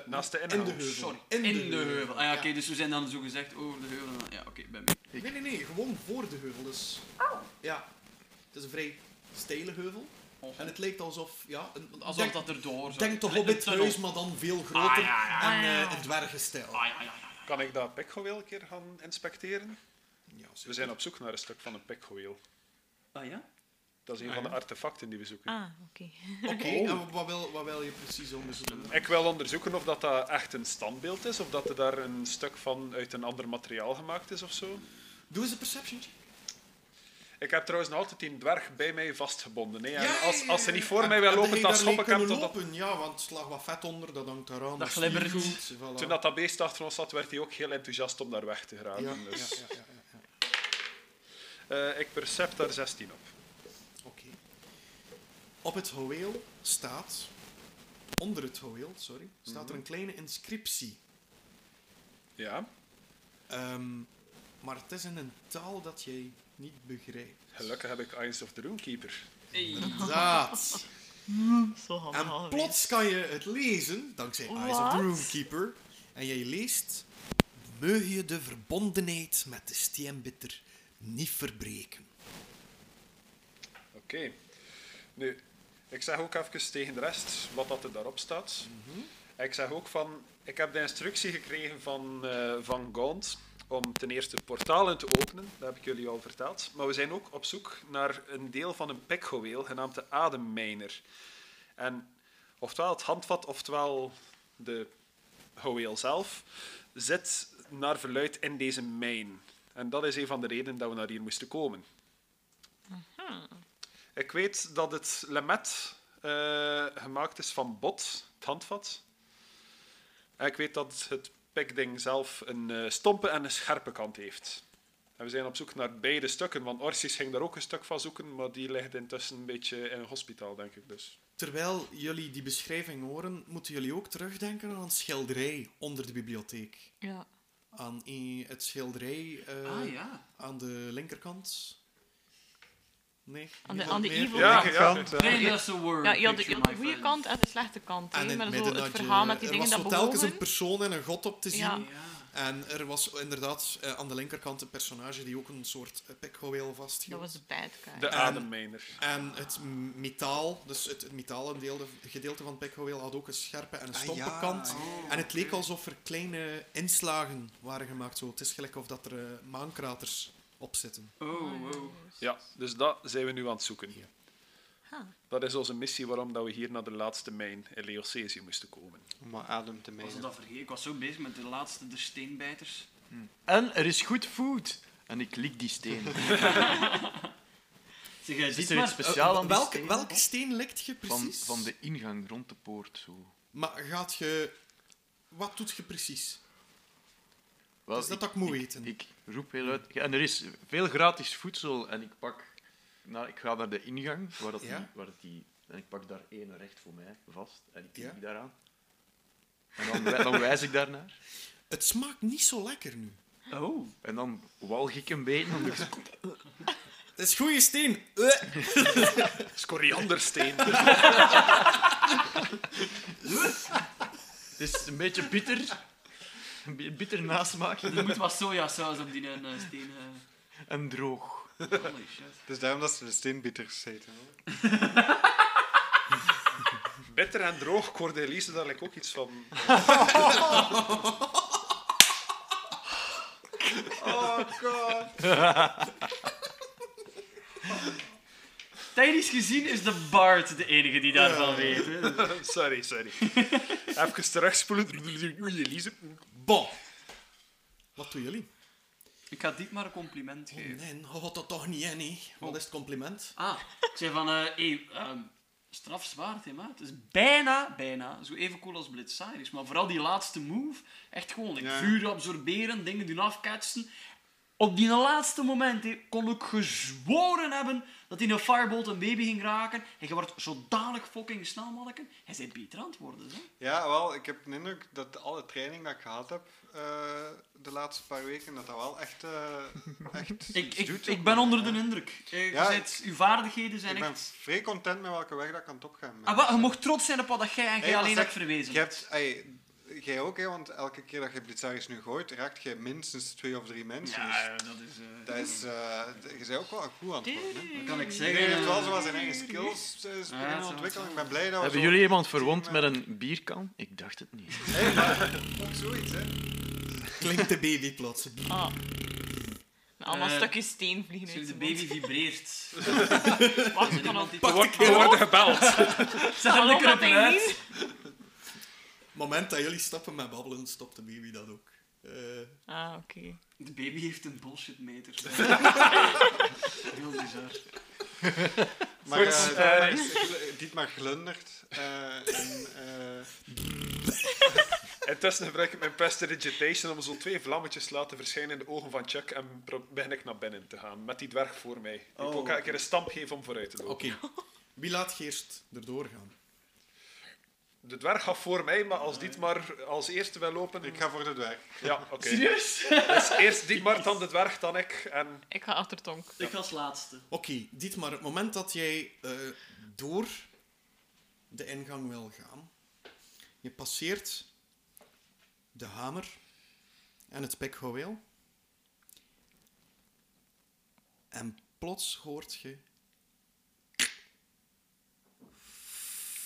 Eh, Naast de in ingang. de heuvel. Sorry. In, de, heuvel. Ah, ja, oké, dus we zijn dan zo gezegd over de heuvel. en dan- Ja, oké, ben mee. Nee, nee, nee. Gewoon voor de heuvel. Dus... Ja. Het is een vrij steile heuvel. En het lijkt alsof... Ja, een, Alsof denk, dat er door zou- Denk toch Een op het tunnel. huis, maar dan veel groter. Ah, ja, ja, En ja, eh ja. een dwergenstijl. Ah, ja, ja, ja. ja. Kan ik dat pikgeweel een keer gaan inspecteren? Ja, zeker. We zijn op zoek naar een stuk van een pikgeweel. Ah, ja? Dat is een van de artefacten die we zoeken. Ah, oké. (laughs) Oké, Oh. en wat wil, wat wil je precies onderzoeken? Ik wil onderzoeken of dat, dat echt een standbeeld is, of dat er daar een stuk van uit een ander materiaal gemaakt is of zo. Doe eens een perception check. Ik heb trouwens nog altijd die dwerg bij mij vastgebonden. Hè? En Ja, ja, als, als ze ja, niet ja. voor mij En- wil en lopen, hij dan daarmee schop ik hem kunnen tot dat... lopen, Ja, want slag wat vet onder, dat hangt eraan. Dat stier glibbert. goed, voilà. Toen dat, dat beest achter ons zat, werd hij ook heel enthousiast om daar weg te Ja, ja, geraken. ja, Dus, ja, ja. eh, ik percept daar 16 op. Oké. Op het houweel staat, onder het houweel, sorry, staat er een kleine inscriptie. Ja, Ehm, maar het is in een taal dat jij niet begrijpt. gelukkig heb ik Eyes of the Roomkeeper. Hey. Zaad. Zo handig En alweer. plots kan je het lezen, dankzij Eyes of the Wat? Roomkeeper. En jij leest... Meug je de verbondenheid met de steenbitter niet verbreken. Oké. Nu, ik zeg ook even tegen de rest wat dat er daarop staat. Ik zeg ook van, ik heb de instructie gekregen van, eh van Gaunt om ten eerste portalen te openen, dat heb ik jullie al verteld. Maar we zijn ook op zoek naar een deel van een pikgeweel genaamd de ademmijner. En oftewel het handvat, oftewel de houweel zelf, zit naar verluid in deze mijn. En dat is een van de redenen dat we naar hier moesten komen. Ik weet dat het lemet eh, gemaakt is van bot, het handvat. En ik weet dat het pikding zelf een eh, stompe en een scherpe kant heeft. En we zijn op zoek naar beide stukken, want Orsis ging daar ook een stuk van zoeken, maar die ligt intussen een beetje in een hospitaal, denk ik dus. Terwijl jullie die beschrijving horen, moeten jullie ook terugdenken aan een schilderij onder de bibliotheek. Ja. Aan i- het schilderij eh, Ah, ja. aan de linkerkant. Nee. Aan de- niemand aan de meer? evil Ja, Nee, dat is een word. Ja, je had de, je picture, had de goede my friend. kant en de slechte kant. En hè, in maar het zo midden het dat je- verhaal met die er dingen was dat zo telkens bewogen. een persoon en een god op te zien. Ja. Ja. En er was inderdaad eh, aan de linkerkant een personage die ook een soort eh, pikgeweel Dat vasthield. was de bad guy. De En- ademmijner. En het m- metaal, dus het, het metalen deel, gedeelte van het pikgeweel had ook een scherpe en een Ah, stompe Ah, ja. kant. Oh. En het leek alsof er kleine inslagen waren gemaakt. Zo. Het is gelijk of dat er eh, maankraters op zitten. Oh, wow. Ja, dus dat zijn we nu aan het zoeken. Ja. Ha. Dat is onze missie waarom dat we hier naar de laatste mijn in Leocesium moesten komen. Om maar adem te Was menen. dat al vergeten? Ik was zo bezig met de laatste der steenbijters. En er is goed food. En ik lik die (laughs) steen. Zeg, jij Is ziet er iets maar... Eh, speciaals aan die welke, steen? welke steen likt je Van, precies? van de ingang rond de poort. Zo. Maar gaat je... Wat doet je precies? Wel, is dat dat ik moet eten. Ik roep heel uit. Ja, en er is veel gratis voedsel. En ik pak... Nou, ik ga naar de ingang, waar dat Ja? die, waar dat die... En ik pak daar één recht voor mij vast. En ik kijk Ja? daaraan. En dan, wij- dan wijs ik daarnaar. Het smaakt niet zo lekker nu. Oh. En dan walg ik een (laughs) beetje. Dan doe ik zo- Het is goede steen. Eh. (laughs) Scoriandersteen. Het is een beetje bitter. (laughs) Een bi- bitter nasmaak. Er moet wat sojasaus op die eh, steen. eh. En droog. Holy shit. Dus daarom dat ze de steenbieters heten. hoor. Bitter en droog, Cordelise, daar lijkt ook iets van. Technisch gezien is de Bard de enige die daarvan weet. hè. (laughs) sorry, sorry. Even terugspoelen. Oei, Elise. Bon. Wat doen jullie? Ik ga Dietmar een compliment Oh, geven. nee, je had dat toch niet in, hè? Wat is het compliment? Ah, ik zei van, eh hey, ehm, straf zwaard, hè, maat. Het is bijna, bijna, zo even cool als Blitzaris. Maar vooral die laatste move, echt gewoon like, Ja. vuur absorberen, dingen doen afketsen. Op die laatste moment hè, kon ik gezworen hebben dat hij een firebolt een baby ging raken. En je wordt zodanig fucking snel, manneken. Hij zei beter aan het worden, hè. Ja, wel, ik heb de indruk dat alle training dat ik gehad heb eh, de laatste paar weken, dat dat wel echt, eh echt (laughs) Ik, iets ik, doet ik op ben mij, onder hè. de indruk. Eh, je Ja, zijt- uw vaardigheden zijn Ik ben echt... vrij content met welke weg dat ik aan het opgaan ben. Ah, wat, je mocht trots zijn op wat jij en jij Hey, maar alleen zeg, hebt verwezen. Je hebt, ey, jij ook, hè, want elke keer dat je Blitzaris nu gooit, raakt je minstens twee of drie mensen. Ja, dat is... eh, Dus dat is, eh, d- je bent ook wel goed aan het worden. hè. wat kan ik zeggen? Iedereen heeft wel eh, zo wat zijn eigen skills eh, is Ja, beginnen zo, ontwikkelen. zo. Ik ben blij dat we Hebben zo- jullie iemand verwond met een bierkan? Ik dacht het niet. Hey, maar ook zoiets, hè. Klinkt de baby plots. Ah. En allemaal Eh, stukjes steen vliegen Zeg, uit de zijn baby vibreert. (laughs) mond. Zijn iemand die- We worden- we worden gebeld. Zet hem Hallo, lekker op een Kathleen? uit. moment dat jullie stappen met babbelen, stopt de baby dat ook. Eh, Ah, oké. De baby heeft een bullshitmeter. (laughs) Heel bizar. Maar Goed, eh, Dietmar eh, is- gl- Dietmar glundert. eh, en, eh, Intussen gebruik ik mijn prestidigitation om zo twee vlammetjes te laten verschijnen in de ogen van Chuck en pro- begin ik naar binnen te gaan met die dwerg voor mij. Die ik ook elke keer een stamp geef om vooruit te lopen. Oké. Wie laat je eerst erdoor gaan? De dwerg gaat voor mij, maar als Dietmar als eerste wil lopen... ik ga voor de dwerg. Ja, oké. Dus eerst Dietmar, dan de dwerg, dan ik. En Ik ga achter Tonk. Ik als laatste. Oké, dit maar het moment dat jij eh, door de ingang wil gaan, je passeert de hamer en het pikgouweel. En plots hoort je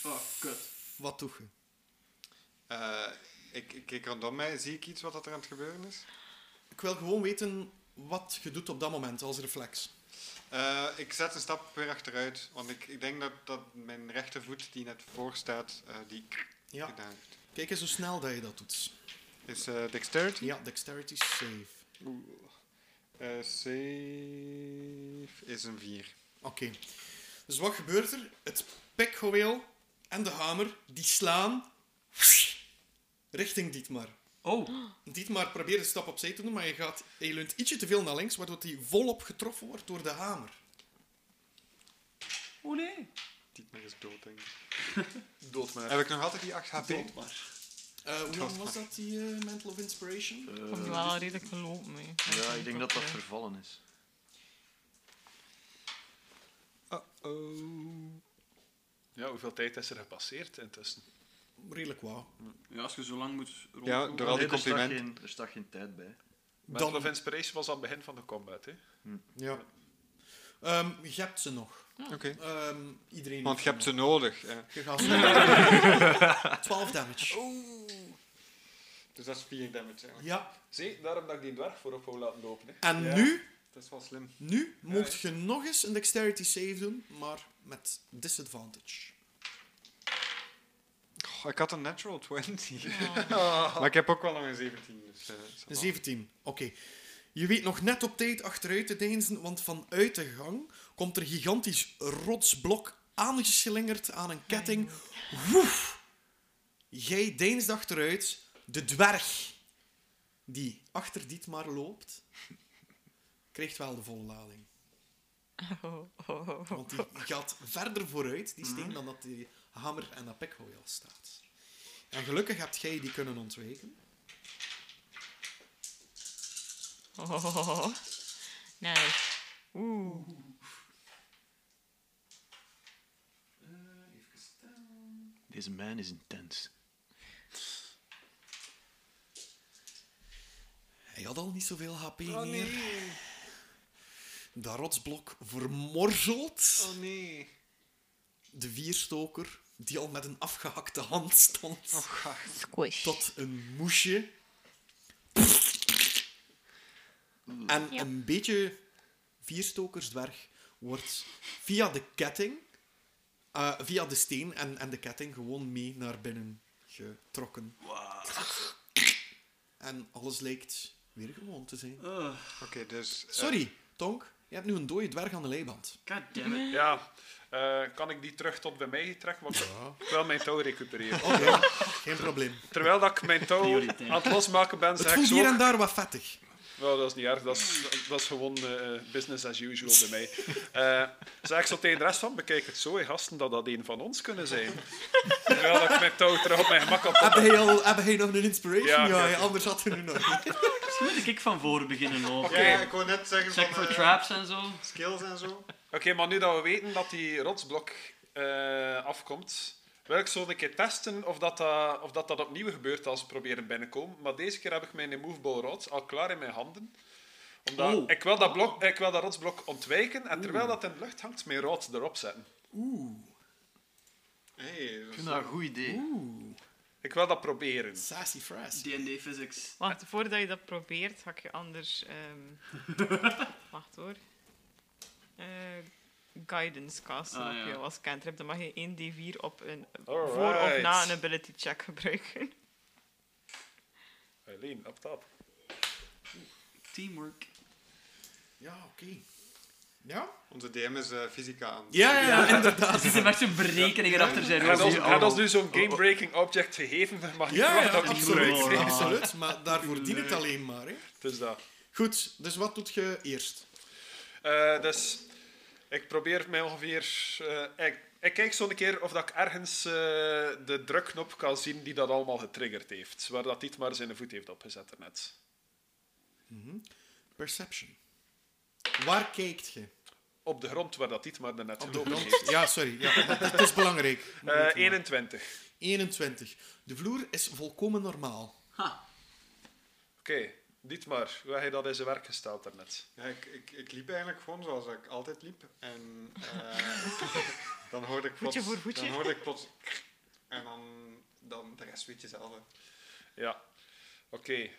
Oh, kut. wat doe je? Eh, ik, ik kijk rondom mij. Zie ik iets wat dat er aan het gebeuren is? Ik wil gewoon weten wat je doet op dat moment als reflex. Eh, ik zet een stap weer achteruit. Want ik, ik denk dat, dat mijn rechtervoet, die net voor staat, eh, die Ja. gedaan heeft. Kijk eens hoe snel dat je dat doet. Is eh dexterity? Ja, dexterity save. Eh, save is een 4. Oké. Dus wat gebeurt er? Het pikgeweel en de hamer, die slaan richting Dietmar. Oh, Dietmar probeert een stap opzij te doen, maar je, gaat, je leunt ietsje te veel naar links, waardoor hij volop getroffen wordt door de hamer. oh nee. Dietmar is dood, denk ik. dood me. Heb ik nog altijd die 8 HP? Eh, hoe lang was dat, die eh, Mantle of Inspiration? Ik heb die wel al redelijk gelopen mee. Ja, ik denk dat dat vervallen is. Ja, hoeveel tijd is er gepasseerd intussen? Redelijk wat. Ja, als je zo lang moet rond. Ja, door al die er, staat complimenten. geen, er staat geen tijd bij. Battle Dan- of Inspiration was aan het begin van de combat, hè? Ja. Ehm, je hebt ze nog. Oké. Ehm, iedereen Want je heeft hebt ze nodig. hè. nog. Je gaat ze... (laughs) 12 damage. Dus dat is 4 damage eigenlijk. Ja. Zie, daarom dat ik die dwerg voorop wou laten lopen, hè. En nu Dat is wel slim. Nu mocht je nog eens een dexterity save doen, maar met disadvantage. Goh, ik had een natural 20. (laughs) maar ik heb ook wel nog een 17. Dus, eh, is Een wel- 17, oké. Je weet nog net op tijd achteruit te deinzen, want vanuit de gang komt er een gigantisch rotsblok aangeslingerd aan een ketting. Woef! Jij deinst achteruit, de dwerg die achter Dietmar loopt, krijgt wel de volle lading. (laughs) Oh, oh, oh, oh. Want die gaat verder vooruit, die steen, dan dat die hamer en dat pikhooi al staat. En gelukkig hebt jij die kunnen ontwijken. Oh, oh, oh, oh. Nice. Oeh. Deze man is intens. Hij had al niet zoveel HP meer. Dat rotsblok vermorzelt. Oh nee. De vierstoker, die al met een afgehakte hand stond, Squish. tot een moesje. En Ja. een beetje vierstokersdwerg wordt via de ketting, eh, via de steen en, en de ketting gewoon mee naar binnen getrokken. En alles lijkt weer gewoon te zijn. Ugh, Oké, dus... eh, Sorry, Tonk, je hebt nu een dode dwerg aan de leiband. God damn it. Ja. Eh, kan ik die terug tot bij mij trekken? Want ik wil mijn touw recupereren. Oké, (laughs) geen probleem. Terwijl dat ik mijn touw Prioriteit. aan het losmaken ben, Het zeg ik voelt zo... hier en daar wat vettig. Nou, dat is niet erg. Dat is, dat is gewoon eh, business as usual bij mij. Eh zeg ik zo tegen de rest van, bekijk het zo, hè, gasten, dat dat een van ons kunnen zijn. Terwijl dat ik mijn touw terug op mijn gemak had. Heb jij, al, heb jij nog een inspiration? Ja, Ja, ik heb ja, anders had er nu nog niet. Misschien moet ik van voren beginnen ook. Oké. Ja, ik wou net zeggen Check van... for eh, traps en zo. Skills en zo. Oké, maar nu dat we weten dat die rotsblok eh, afkomt, wil ik zo een keer testen of dat, dat, of dat dat opnieuw gebeurt als we proberen binnenkomen. Maar deze keer heb ik mijn immovable rods al klaar in mijn handen. Omdat Oh. ik, wil dat blok, ik wil dat rotsblok ontwijken en terwijl dat in de lucht hangt, mijn rod erop zetten. Hey, dat Ik is- vind dat een goed idee. Ik wil dat proberen. Sassy Frass. D&D physics. Wacht, voordat je dat probeert, ga ik je anders... ehm, (laughs) wacht hoor. Eh, guidance casten Ah, op ja. jou als cantrip. Dan mag je 1d4 op een, Alright. voor of na een ability check (laughs) gebruiken. Eileen, op tap. Teamwork. Ja, oké. Ja? Onze DM is eh, fysica aan. Ja, ja, ja. En Er zitten met zijn berekeningen achter zijn Hij hoofd. had ons nu zo'n game-breaking object gegeven, dan mag ik oh, Ja, verwachten ja, dat ik niet gebruik. absoluut, absoluut. Maar daarvoor dient het alleen maar. Hè. Dus dat. Goed, dus wat doet je eerst? Eh, dus ik probeer mij ongeveer. eh, ik, ik kijk zo een keer of dat ik ergens eh, de drukknop kan zien die dat allemaal getriggerd heeft. Waar dat dit maar zijn voet heeft opgezet daarnet. Perception. Waar kijkt je? Op de grond waar dat dit maar daarnet Op de gelopen grond? heeft. Ja, sorry. Ja, het is belangrijk. Eh 21. 21. De vloer is volkomen normaal. Oké, dit maar. Hoe heb je dat in zijn werk gesteld daarnet? Ja, ik, ik, ik liep eigenlijk gewoon zoals ik altijd liep. En eh, dan hoorde ik plots... Voetje voor voetje. Dan hoorde ik plots... En dan, dan de rest weet je zelf. hè. Ja. Oké,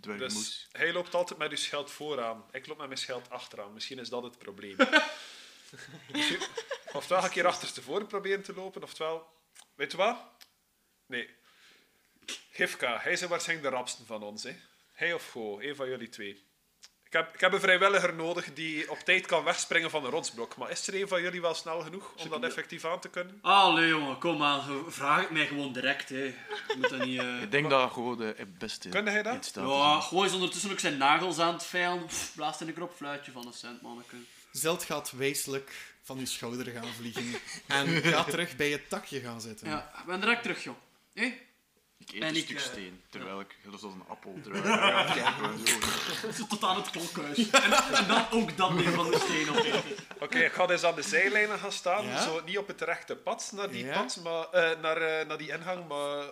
Dwergmoes. dus hij loopt altijd met uw scheld vooraan. Ik loop met mijn scheld achteraan. Misschien is dat het probleem. Misschien- Oftewel ga ik hier achterstevoren proberen te lopen, oftewel... Weet je wat? Nee. Gifka, hij zijn waarschijnlijk de rapsten van ons. Hè? Hij of Go, een van jullie twee. Ik heb, ik heb een vrijwilliger nodig die op tijd kan wegspringen van een rotsblok. Maar is er een van jullie wel snel genoeg om dat effectief aan te kunnen? Allee jongen, kom aan. ge- Vraag het mij gewoon direct. Hè. Je moet dat (laughs) niet... eh, Ik denk dat gewoon de het beste Kun jij dat? in staat is. Ja, gooi eens ondertussen ook zijn nagels aan het veilen. Pff, Blaast in de krop, fluitje van een cent, manneke. Zeld gaat wijselijk van je schouder gaan vliegen. En gaat terug bij het takje gaan zitten. Ja, ik ben direct terug, joh. Hé? Ik eet En een ik, stuk eh, steen, terwijl ik dat is als een (laughs) appel draai. Ja, zo. Tot aan het klokhuis. En, en dan ook dat weer van de steen opeten. Oké, ik ga dus aan de zijlijnen gaan staan. Ja? Zo, niet op het rechte pad naar die, Ja? pad, maar, eh, naar, eh, naar die ingang, maar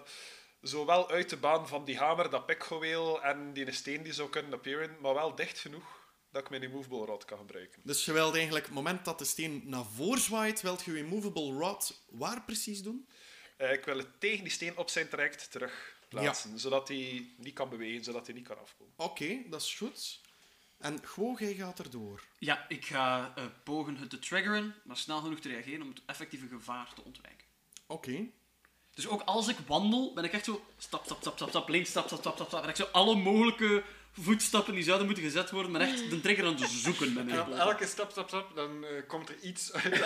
zo wel uit de baan van die hamer, dat pikgeweel en die steen die zou kunnen appearen, maar wel dicht genoeg dat ik mijn immovable rod kan gebruiken. Dus je wilt eigenlijk, op het moment dat de steen naar voren zwaait, wilt je je movable rod waar precies doen? Eh, ik wil het tegen die steen op zijn traject terug plaatsen, zodat hij niet kan bewegen, zodat hij niet kan afkomen. Oké, dat is goed. En gewoon, jij gaat erdoor. Ja, ik ga eh, pogen het te triggeren, maar snel genoeg te reageren om het effectieve gevaar te ontwijken. Oké. Dus ook als ik wandel, ben ik echt zo stap, stap, stap, stap, stap, links, stap, stap, stap, stap, stap. En ik zo alle mogelijke voetstappen die zouden moeten gezet worden, maar echt de trigger aan het zoeken met En mijn op plaat. elke stap, stap, stap, dan eh, komt er iets uit.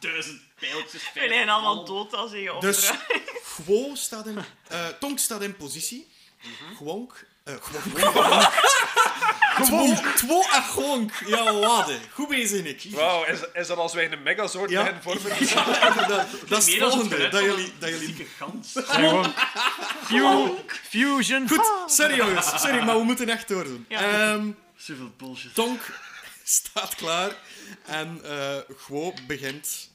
Duizend pijltjes. We vijf zijn allemaal ballen. dood als je je Dus opdraait. Gwo staat in... eh, Tonk staat in positie. Gwonk... eh Gwonk. Twonk. Two en Gwonk. Ja, wade. Goed bezig, Nick. Wauw, is, is dat als wij een megazord Ja. beginnen vormen? Inderdaad, (laughs) dat is Meer het dan het volgende. geluid Dat van jullie, een dat jullie... zieke gans. Fusion! Fusion! Goed, sorry jongens. Sorry, maar we moeten echt doordoen. Ja. Ehm, Zoveel bullshit. Tonk staat klaar. En eh Gwo begint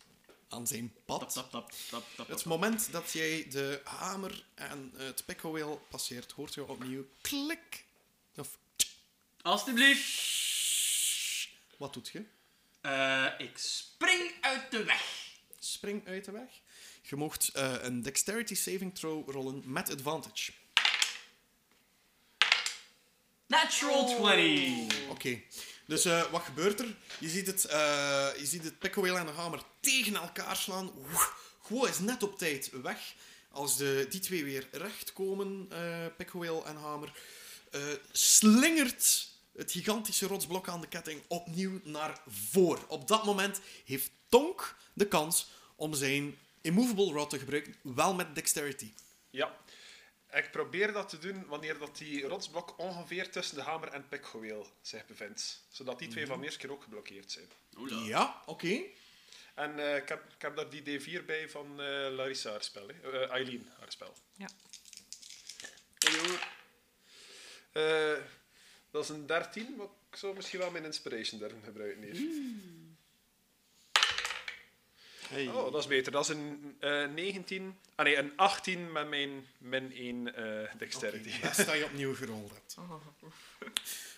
aan zijn Tap, pad. tap, tap, tap, tap, Het tap. moment dat jij de hamer en het pikkelweel passeert, hoort je opnieuw klik. Of Alsjeblieft. wat doet je? Eh, ik spring uit de weg. Spring uit de weg. Je mocht eh, een dexterity saving throw rollen met advantage. Nee. Natural 20! Oké. Dus eh, wat gebeurt er? Je ziet het, eh, je ziet het pickwheel en de hamer tegen elkaar slaan. Oeh, Gwo is net op tijd weg. Als de, die twee weer recht komen, eh pickwheel en hamer, eh, slingert het gigantische rotsblok aan de ketting opnieuw naar voren. Op dat moment heeft Tonk de kans om zijn immovable rod te gebruiken, wel met dexterity. Ja. Ik probeer dat te doen wanneer dat die rotsblok ongeveer tussen de hamer en pikgeweel zich bevindt. Zodat die twee van de eerste keer ook geblokkeerd zijn. Oula. Ja, oké. En eh, ik, heb, ik heb daar die D4 bij van eh, Larissa haar spel. hè. Eh, Eileen haar spel. Ja. Eh, dat is een 13, maar ik zou misschien wel mijn inspiration daarin gebruiken hier. Hey. Oh, dat is beter. Dat is een eh 19... Ah nee, een 18 met mijn min 1 eh dexterity. (laughs) Oké, Best dat je opnieuw gerold hebt.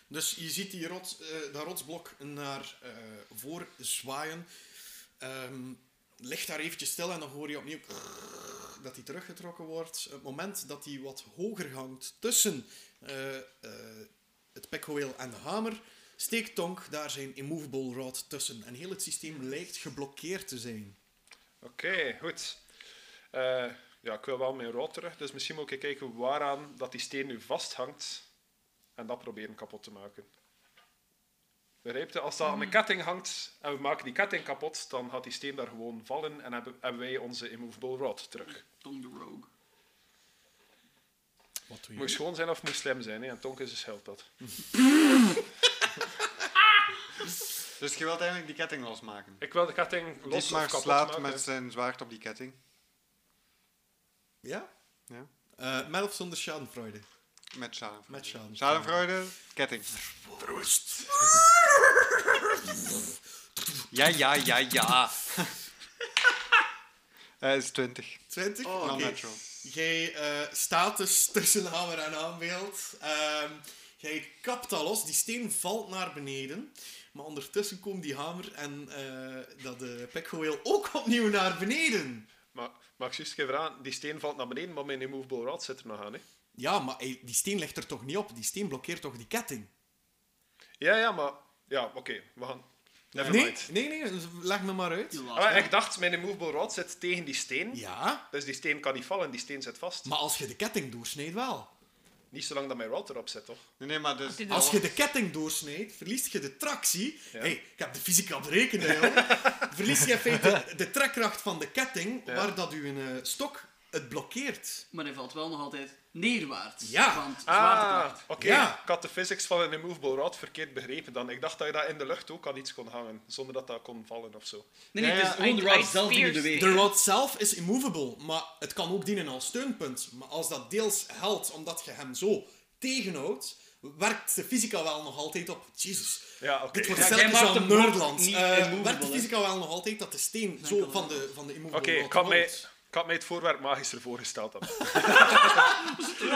Dus je ziet die rots, eh, dat rotsblok naar eh voor zwaaien. Ehm ligt daar eventjes stil en dan hoor je opnieuw dat hij teruggetrokken wordt. Het moment dat hij wat hoger hangt tussen eh, eh, het pekhoeel en de hamer, steekt Tonk daar zijn immovable rod tussen. En heel het systeem lijkt geblokkeerd te zijn. Oké, goed. Eh, ja, ik wil wel mijn rood terug, dus misschien moet ik kijken waaraan dat die steen nu vasthangt en dat proberen kapot te maken. Begrijp je? Als dat aan Hmm. de ketting hangt en we maken die ketting kapot, dan gaat die steen daar gewoon vallen en hebben, hebben wij onze immovable rod terug. Tom de Rogue. Wat Hmm. doe je? Moet je schoon zijn of moet je slim zijn, hè? en Tonk is een schildpad. Dus je wilt eigenlijk die ketting losmaken. Ik wil de ketting los of Dietmar kapot slaat maken. met zijn zwaard op die ketting. Ja? Ja. Eh Mel of zonder schadenfreude? Met schadenfreude. Met schadenfreude. Schadenfreude, ketting. (laughs) Ja, ja, ja, ja. Hij is 20. 20? Oh, Oké. non-natural. Jij eh, staat dus tussen hamer en aanbeeld. Ehm, jij kapt dat los, die steen valt naar beneden. Maar ondertussen komt die hamer en eh, dat de pekgoeel ook opnieuw naar beneden. Maar, maar ik zou eens even vragen, die steen valt naar beneden, maar mijn immovable rod zit er nog aan. Hè? Ja, maar hij- die steen ligt er toch niet op? Die steen blokkeert toch die ketting? Ja, ja, maar... Ja, oké, we gaan... Never Nee, mind. nee, nee, dus leg me maar uit. Die Ah, maar laatste. ik dacht, mijn immovable rod zit tegen die steen. Ja, Dus die steen kan niet vallen, die steen zit vast. maar als je de ketting doorsnijdt wel. Niet zolang dat mijn rod erop zit, toch? Nee, nee, maar dus... Als die Als je de ketting doorsnijdt, verliest je de tractie. Ja. hey, ik heb de fysica berekend, joh. Verlies je in feite de trekkracht van de ketting, Ja. waar dat u een eh, stok het blokkeert. Maar hij valt wel nog altijd neerwaarts. Ja. Want Ah. zwaartekracht. oké. Ja. Ik had de physics van een immovable rod verkeerd begrepen dan. Ik dacht dat je dat in de lucht ook aan iets kon hangen, zonder dat dat kon vallen of zo. Nee, nee, Ja, het is ja. gewoon de Uit- rod zelf die in de uit weg. De rod zelf is immovable, maar het kan ook dienen als steunpunt. Maar als dat deels helpt omdat je hem zo tegenhoudt, werkt de fysica wel nog altijd op. Jezus. Ja, oké. Dit wordt Ja, zelfs jij maakt aan hem nog Noordland. niet Eh, immovable, werkt de hè? fysica wel nog altijd dat de steen Dan zo kan van dat. de, van de immovable Oké, rod ik had mij- houdt? ik had mij het voorwerp magisch ervoor gesteld dan.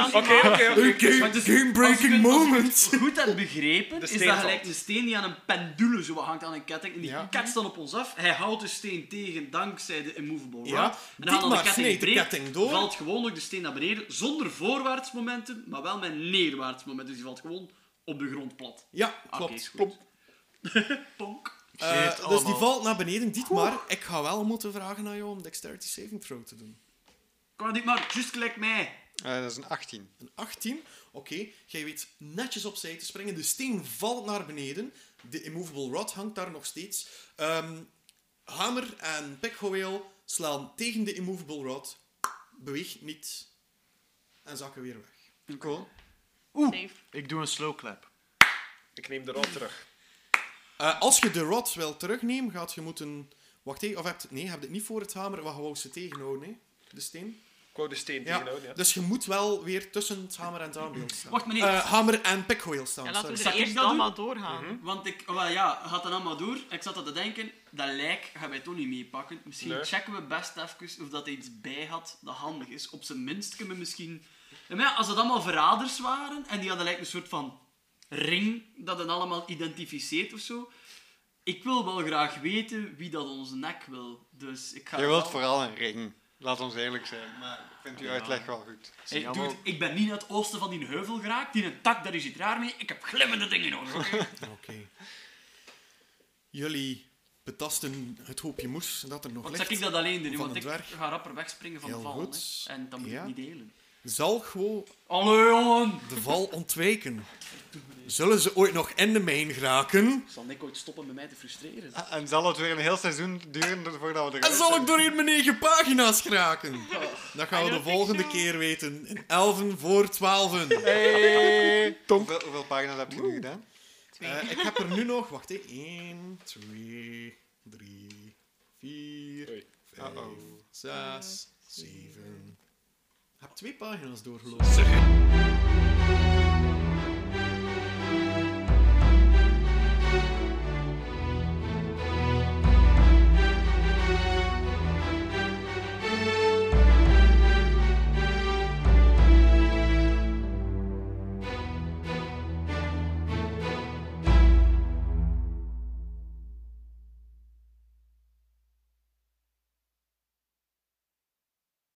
Oké, Dan- oké, oké. Maar dus, als je game-breaking het- als je het moment. Goed hebt begrepen, De is steen dat gelijk valt. Mhm. een steen die aan een pendule zo hangt aan een ketting. En die Ja. ketst dan op ons af. Hij houdt de steen tegen dankzij de immovable rod. Ja. En dan Dietmar de ketting snijdt de breekt, ketting door. valt gewoon ook de steen naar beneden. Zonder voorwaarts momenten, maar wel met neerwaarts momenten. Dus die valt gewoon op de grond plat. Ja, Oké, klopt. is goed. oh, Plop. Ponk. Eh, dus die valt naar beneden. Dietmar, ik ga wel moeten vragen aan jou om dexterity saving throw te doen. Kom maar, Dietmar, just gelijk mij. Eh, dat is een 18. Een 18. Oké, jij weet netjes opzij te springen. De steen valt naar beneden. De immovable rod hangt daar nog steeds. Ehm, hamer en pekhoeel slaan tegen de immovable rod. Beweeg niet. En zakken weer weg. Cool. Safe. Ik doe een slow clap. Ik neem de rod terug. Eh, als je de rod wil terugnemen, gaat je moeten... Wacht even, of hebt... Nee, je hebt het niet voor het hamer. Wat wou ze tegenhouden, hè? De steen. Ik wou de steen Ja, tegenhouden, ja. dus je moet wel weer tussen het hamer en het aanbeeld (clears throat) staan. Wacht, meneer. Eh, hamer en pikhoeel Ja, staan, laten sorry. we Zal er ik eerst dat doen? allemaal doorgaan. Want ik, oh, wel ja, gaat dan allemaal door. Ik zat dat te denken, dat lijk gaan wij toch niet meepakken. Misschien Nee. checken we best even of dat hij iets bij had dat handig is. Op zijn minst kunnen we misschien... Ja, maar ja, als dat allemaal verraders waren en die hadden lijk een soort van ring dat hen allemaal identificeert of zo. Ik wil wel graag weten wie dat onze nek wil. Dus ik ga Je wilt wel- vooral een ring. Laat ons eerlijk zijn, maar ik vind uw uitleg wel goed. Hey, Ja, dude, maar- ik ben niet naar het oosten van die heuvel geraakt. Die een tak, daar is iets raar mee. Ik heb glimmende dingen nodig. oké? Oké. Jullie betasten het hoopje moes dat er nog Want ligt. zeg ik dat alleen doen, Van want een ik dwerg. ga rapper wegspringen van de Heel val. goed. hè. En dat moet Ja. ik niet delen. Zal gewoon Allee, jongen! de val (laughs) ontwijken. Zullen ze ooit nog in de mijn geraken? Zal Nick ooit stoppen met mij te frustreren? Ah, En zal het weer een heel seizoen duren voordat we eruit En zal ik zijn? door hier mijn negen pagina's geraken? Oh. Dat gaan we de volgende keer weten. In elven voor twaalfen. Hey, hoeveel, hoeveel pagina's heb je nu gedaan? Eh, ik heb er nu nog... Wacht, hè. 1, 2, 3, 4, Oei. 5, Uh-oh. 6, 7... Ik heb twee pagina's doorgelopen.